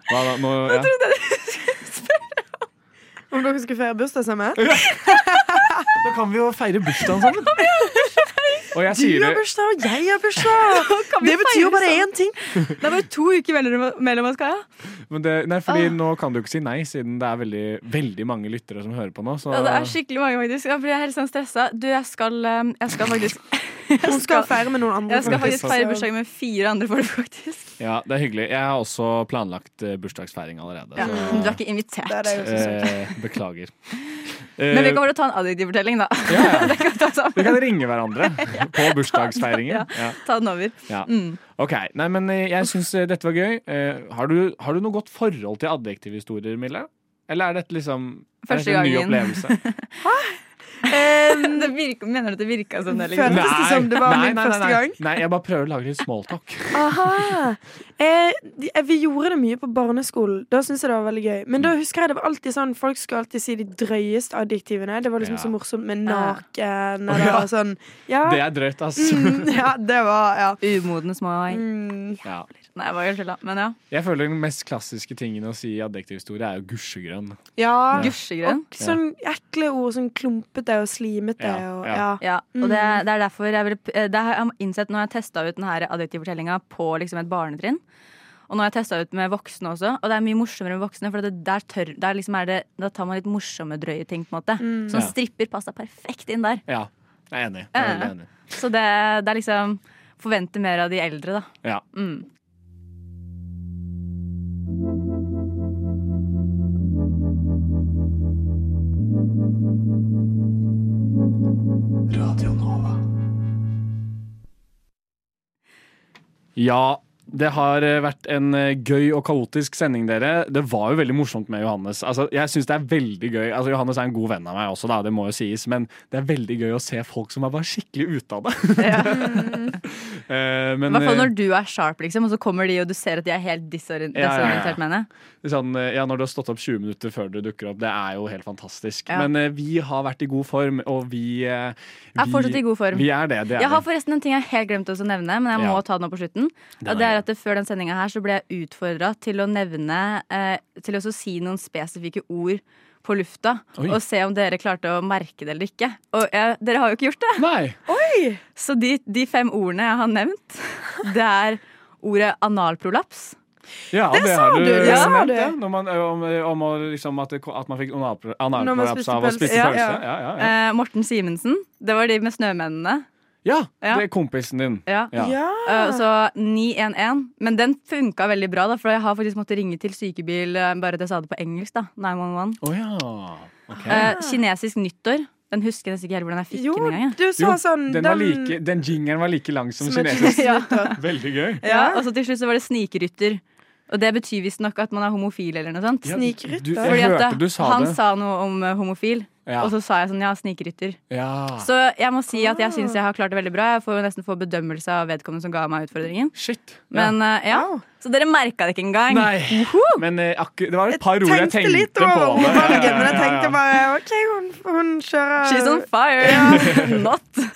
A: Hva da? Nå,
F: Nå
A: ja.
F: trodde jeg du skulle spørre om
G: Om dere skulle feire bursdag sammen?
A: Da kan vi jo feire bursdagen sammen. Og jeg
G: Du
A: sier
G: har
A: det
G: bursdag, og jeg har bursdag!
F: Kan vi
G: Det betyr jo
F: feire
G: bare
F: sammen?
G: én ting.
F: Det er bare to uker mellom- mellom oss, Kaja.
A: men det, Nei,
F: Ah.
A: fordi nå kan du ikke si nei, siden det er veldig, veldig mange lyttere som hører på nå. Så
F: Ja, det er skikkelig mange, faktisk. Jeg blir helt sånn stressa. Du, jeg skal, eh, jeg skal faktisk
G: Hun skal feire med noen andre.
F: Jeg skal faktisk
A: Så-
F: feire bursdag med fire andre folk, faktisk.
A: Ja, det er hyggelig. Jeg har også planlagt eh, bursdagsfeiring allerede.
F: Ja.
A: så-
F: Men Du er ikke invitert.
A: Eh, beklager.
F: Men vi kan
A: Eh,
F: bare ta en adjektiv fortelling, da.
A: ja. Vi kan ringe hverandre på bursdagsfeiringer. Ja.
F: Ta den over.
A: Ja.
F: Mm.
A: Ok, nei, men eh, Jeg syns dette var gøy. Eh, Har du, har du noe godt forhold til adjektivhistorier, Mille? Eller er dette liksom er
F: Første
A: dette en ny
F: gangen.
A: opplevelse?
G: Eh,
F: Det virker, mener du at det virka som det? liksom?
G: Føltes det som det var min første
A: nei,
G: gang?
A: nei, jeg bare prøver å lage litt smalltalk.
G: Aha. Eh, de- eh, vi gjorde det mye på barneskolen. Da syntes jeg det var veldig gøy. Men
A: Mm.
G: da husker jeg det var alltid sånn Folk skulle alltid si de drøyeste adjektivene. Det var liksom
A: Ja.
G: så morsomt med naken
A: Å,
G: eller
A: ja.
G: sånn. Ja.
A: Det er drøyt, ass.
G: Mm, ja, det var ja.
F: Umodne små
G: Mm.
A: Ja.
F: Nei, jeg var helt skylda. Men ja.
A: Jeg føler den mest klassiske tingen å si i adjektivhistorie er jo gusjegrønn.
G: ja.
F: Gusjegrønn.
G: Og sånn ekle ord. Sånn klumpete og slimete
A: Ja,
G: og
A: ja.
G: ja.
F: Ja, og det, det er derfor jeg ville eh, Det har jeg innsett når jeg testa ut denne adjektivfortellinga på liksom et barnetrinn. Og nå har jeg testa ut med voksne også, og det er mye morsommere med voksne. For det der, tør, der liksom er det, da tar man litt morsomme, drøye ting. på en måte
A: Mm.
F: Sånn
A: Ja.
F: stripper passa perfekt inn der.
A: Ja, jeg er enig. Jeg er veldig
F: Eh,
A: enig.
F: Så det, det er liksom Forvente mer av de eldre, da.
A: Ja.
F: Mm.
A: Ja, det har eh, vært en eh, gøy og kaotisk sending, dere. Det var jo veldig morsomt med Johannes. Altså, jeg synes det er veldig gøy Altså, Johannes er en god venn av meg også, da, det må jo sies, men det er veldig gøy å se folk som er bare skikkelig ute av det. Eh,
F: I
A: men,
F: hvert fall
A: eh,
F: når du er sharp, liksom, og så kommer de og du ser at de er helt disorient-
A: Ja, ja, ja.
F: desorientert. mener jeg.
A: Sånn, eh, ja, når du har stått opp 20 minutter før du dukker opp. Det er jo helt fantastisk.
F: Ja.
A: Men eh, vi har vært i god form, og vi eh,
F: Er
A: vi-
F: fortsatt i god form.
A: Vi er det. det er
F: jeg har
A: vi.
F: forresten en ting jeg helt glemte også å nevne, men jeg må
A: Ja.
F: ta den opp på slutten.
A: Den
F: Og
A: er
F: det er at det, Før den sendinga her så ble jeg utfordra til å nevne eh, Til å så si noen spesifikke ord på lufta.
Q: Oi.
F: Og se om dere klarte å merke det eller ikke. Og jeg, dere har jo ikke gjort det. Så de, de fem ordene jeg har nevnt, det er ordet analprolaps.
A: Ja,
F: Det sa
A: har
F: du, det
A: eh,
F: sa
A: nevnt,
F: du.
A: ja, Når man, eh, om, om å liksom at, det, ko- at man fikk analpro-
F: Når man
A: analprolaps
F: spiste
A: av å
F: pølse.
A: spise
F: Ja,
A: pølse.
F: ja.
A: Ja, ja, ja.
F: Eh, Morten Simensen. Det var de med snømennene.
A: ja,
F: ja.
A: det er kompisen din.
F: Ja. Eh, så 911. Men den funka veldig bra, da, for jeg har faktisk måttet ringe til sykebil eh, bare at jeg sa det på engelsk. da 911.
A: Å ja. Ok.
F: Eh, kinesisk nyttår. Den husker jeg nesten ikke helt hvordan jeg fikk den engang. jeg.
A: Jo,
G: sånn
A: den, var like, den jingeren var like lang som
F: sånn, Som et
A: kinesisk.
F: Ja.
A: Veldig gøy.
F: Ja, og så til slutt så var det snikrytter. Og det betyr visstnok at man er homofil eller noe sånt.
A: Ja, Snikrytter? du- jeg
F: Fordi at
A: hørte
F: det-
A: du sa
F: han
A: det.
F: sa noe om eh, homofil,
A: Ja. Ah.
F: og så sa jeg sånn ja, snikrytter.
A: Ja.
F: Så jeg må si at jeg syns jeg har klart det veldig bra. Jeg får jo nesten få bedømmelse av vedkommende som ga meg utfordringen.
A: Shit.
F: Men eh, ja, Så dere merka det ikke engang.
A: Nei, men eh, akkur det var et par ord jeg
G: tenkte
A: tenkte
G: litt
A: på.
G: over
A: det. Ja,
G: ordvalget,
A: ja,
G: men jeg
A: ja, ja.
G: tenkte bare OK, hun, hun kjører
F: She's on fire! Not.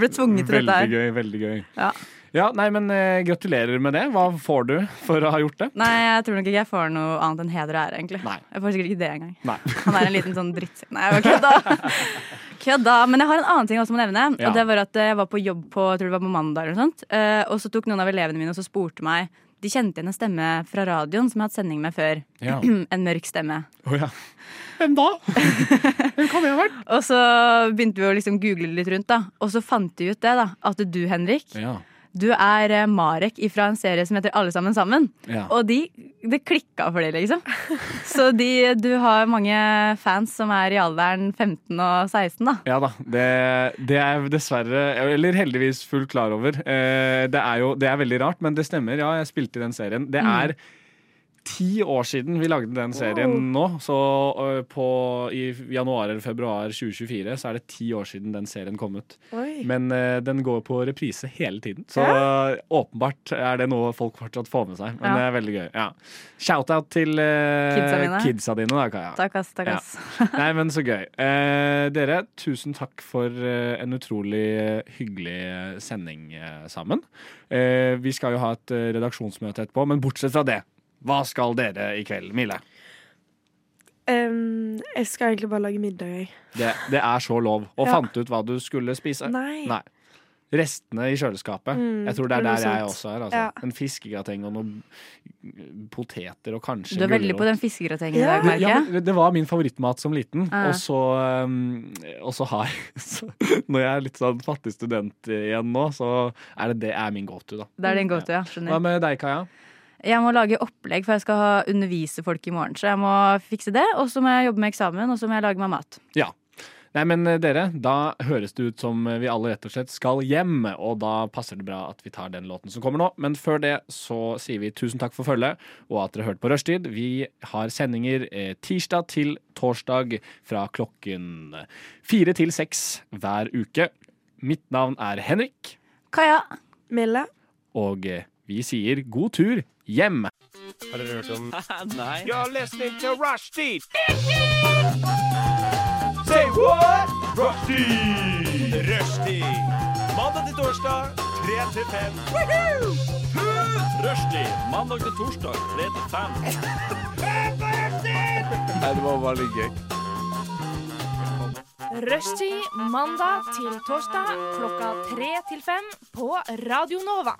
F: Ble tvunget til dette
A: Veldig
F: her.
A: gøy, veldig gøy.
F: Ja.
A: Ja, nei, men eh, Gratulerer med det. Hva får du for å ha gjort det?
F: Nei, jeg tror nok ikke jeg får noe annet enn heder og ære, egentlig. Jeg får sikkert ikke det engang.
A: Nei.
F: Han er en liten sånn drittsekk. Nei, jeg bare kødda. kødda. Men jeg har en annen ting jeg også må nevne.
Q: Ja.
F: Og det var at eh, jeg var på jobb på jeg tror det var på mandag, eller noe sånt. Eh, Og så tok noen av elevene mine og så spurte meg De kjente igjen en stemme fra radioen som jeg har hatt sending med før.
Q: Ja.
F: en mørk stemme.
A: Å ja.
F: Hvem da? Hvem kan det ha vært? Og så begynte vi å liksom google litt rundt, da. Og så fant vi ut det, da. At du, Henrik,
A: Ja.
F: du er eh, Marek fra en serie som heter Alle sammen sammen.
A: Ja.
F: Og de, det klikka for dem, liksom. Så de, du har mange fans som er i alderen 15 og 16, da.
A: Ja da. Det, det er jeg dessverre, eller heldigvis, fullt klar over. Eh, Det er jo det er veldig rart, men det stemmer. Ja, jeg spilte i den serien.
F: Mm.
A: Det er ti år siden vi lagde den serien nå. Så eh, på, i januar eller februar 2024 så er det ti år siden den serien kom ut.
G: Oi.
A: Men eh, den går på reprise hele tiden, så eh, åpenbart er det noe folk fortsatt får med seg. Men
F: Ja.
A: det er veldig gøy. Ja. Shout-out til eh,
F: Kidsa mine.
A: kidsa dine, da, Kaja.
F: Takk, ass. Takk, ass.
A: Ja. Nei, men så gøy. Eh, dere, tusen takk for eh, en utrolig eh, hyggelig eh, sending eh, sammen. Eh, vi skal jo ha et eh, redaksjonsmøte etterpå, men bortsett fra det, hva skal dere i kveld, Mille?
G: Ehm, jeg skal egentlig bare lage middag, jeg.
A: Det, det er så lov. Og
G: Ja.
A: fant du ut hva du skulle spise?
G: Nei.
A: Restene i kjøleskapet.
G: Mm,
A: jeg tror det er
G: det er
A: der
G: noe
A: jeg
G: sånt.
A: også er. Altså.
G: Ja.
A: En fiskegrateng og noen poteter og kanskje
F: Du er veldig
A: gulrot.
F: på den fiskegratengen i dag, merker
A: Ja,
F: jeg. Ah.
A: men det var min favorittmat som liten.
F: Ja.
A: Og så, um, og så har jeg så, Når jeg er litt sånn fattig student igjen nå, så er det det er min go to, da.
F: Det er din go-to, ja.
A: Hva
F: Skjønner.
A: med deg, Kaja?
F: Jeg må lage opplegg, for jeg skal ha- undervise folk i morgen. Så jeg må fikse det, og så må jeg jobbe med eksamen, og så må jeg lage meg mat.
A: Ja. Nei, men eh, dere, da høres det ut som eh, vi alle rett og slett skal hjem, og da passer det bra at vi tar den låten som kommer nå. Men før det så sier vi tusen takk for følget, og at dere hørte på Rushtid. Vi har sendinger eh, tirsdag til torsdag fra klokken fire til seks hver uke. Mitt navn er Henrik,
F: Kaja.
G: Mille.
A: og eh, vi sier god tur hjem. Har dere hørt om
B: Nei.
C: You're listening to Rushdie. Say what? Rushdie. Rushdie. Mandag til torsdag, 3 til 5.
B: Rushtid. Mandag til torsdag, 3 til 5.
C: Nei, det var bare litt gøy.
E: Rushtid mandag til torsdag klokka tre til fem på Radio Nova.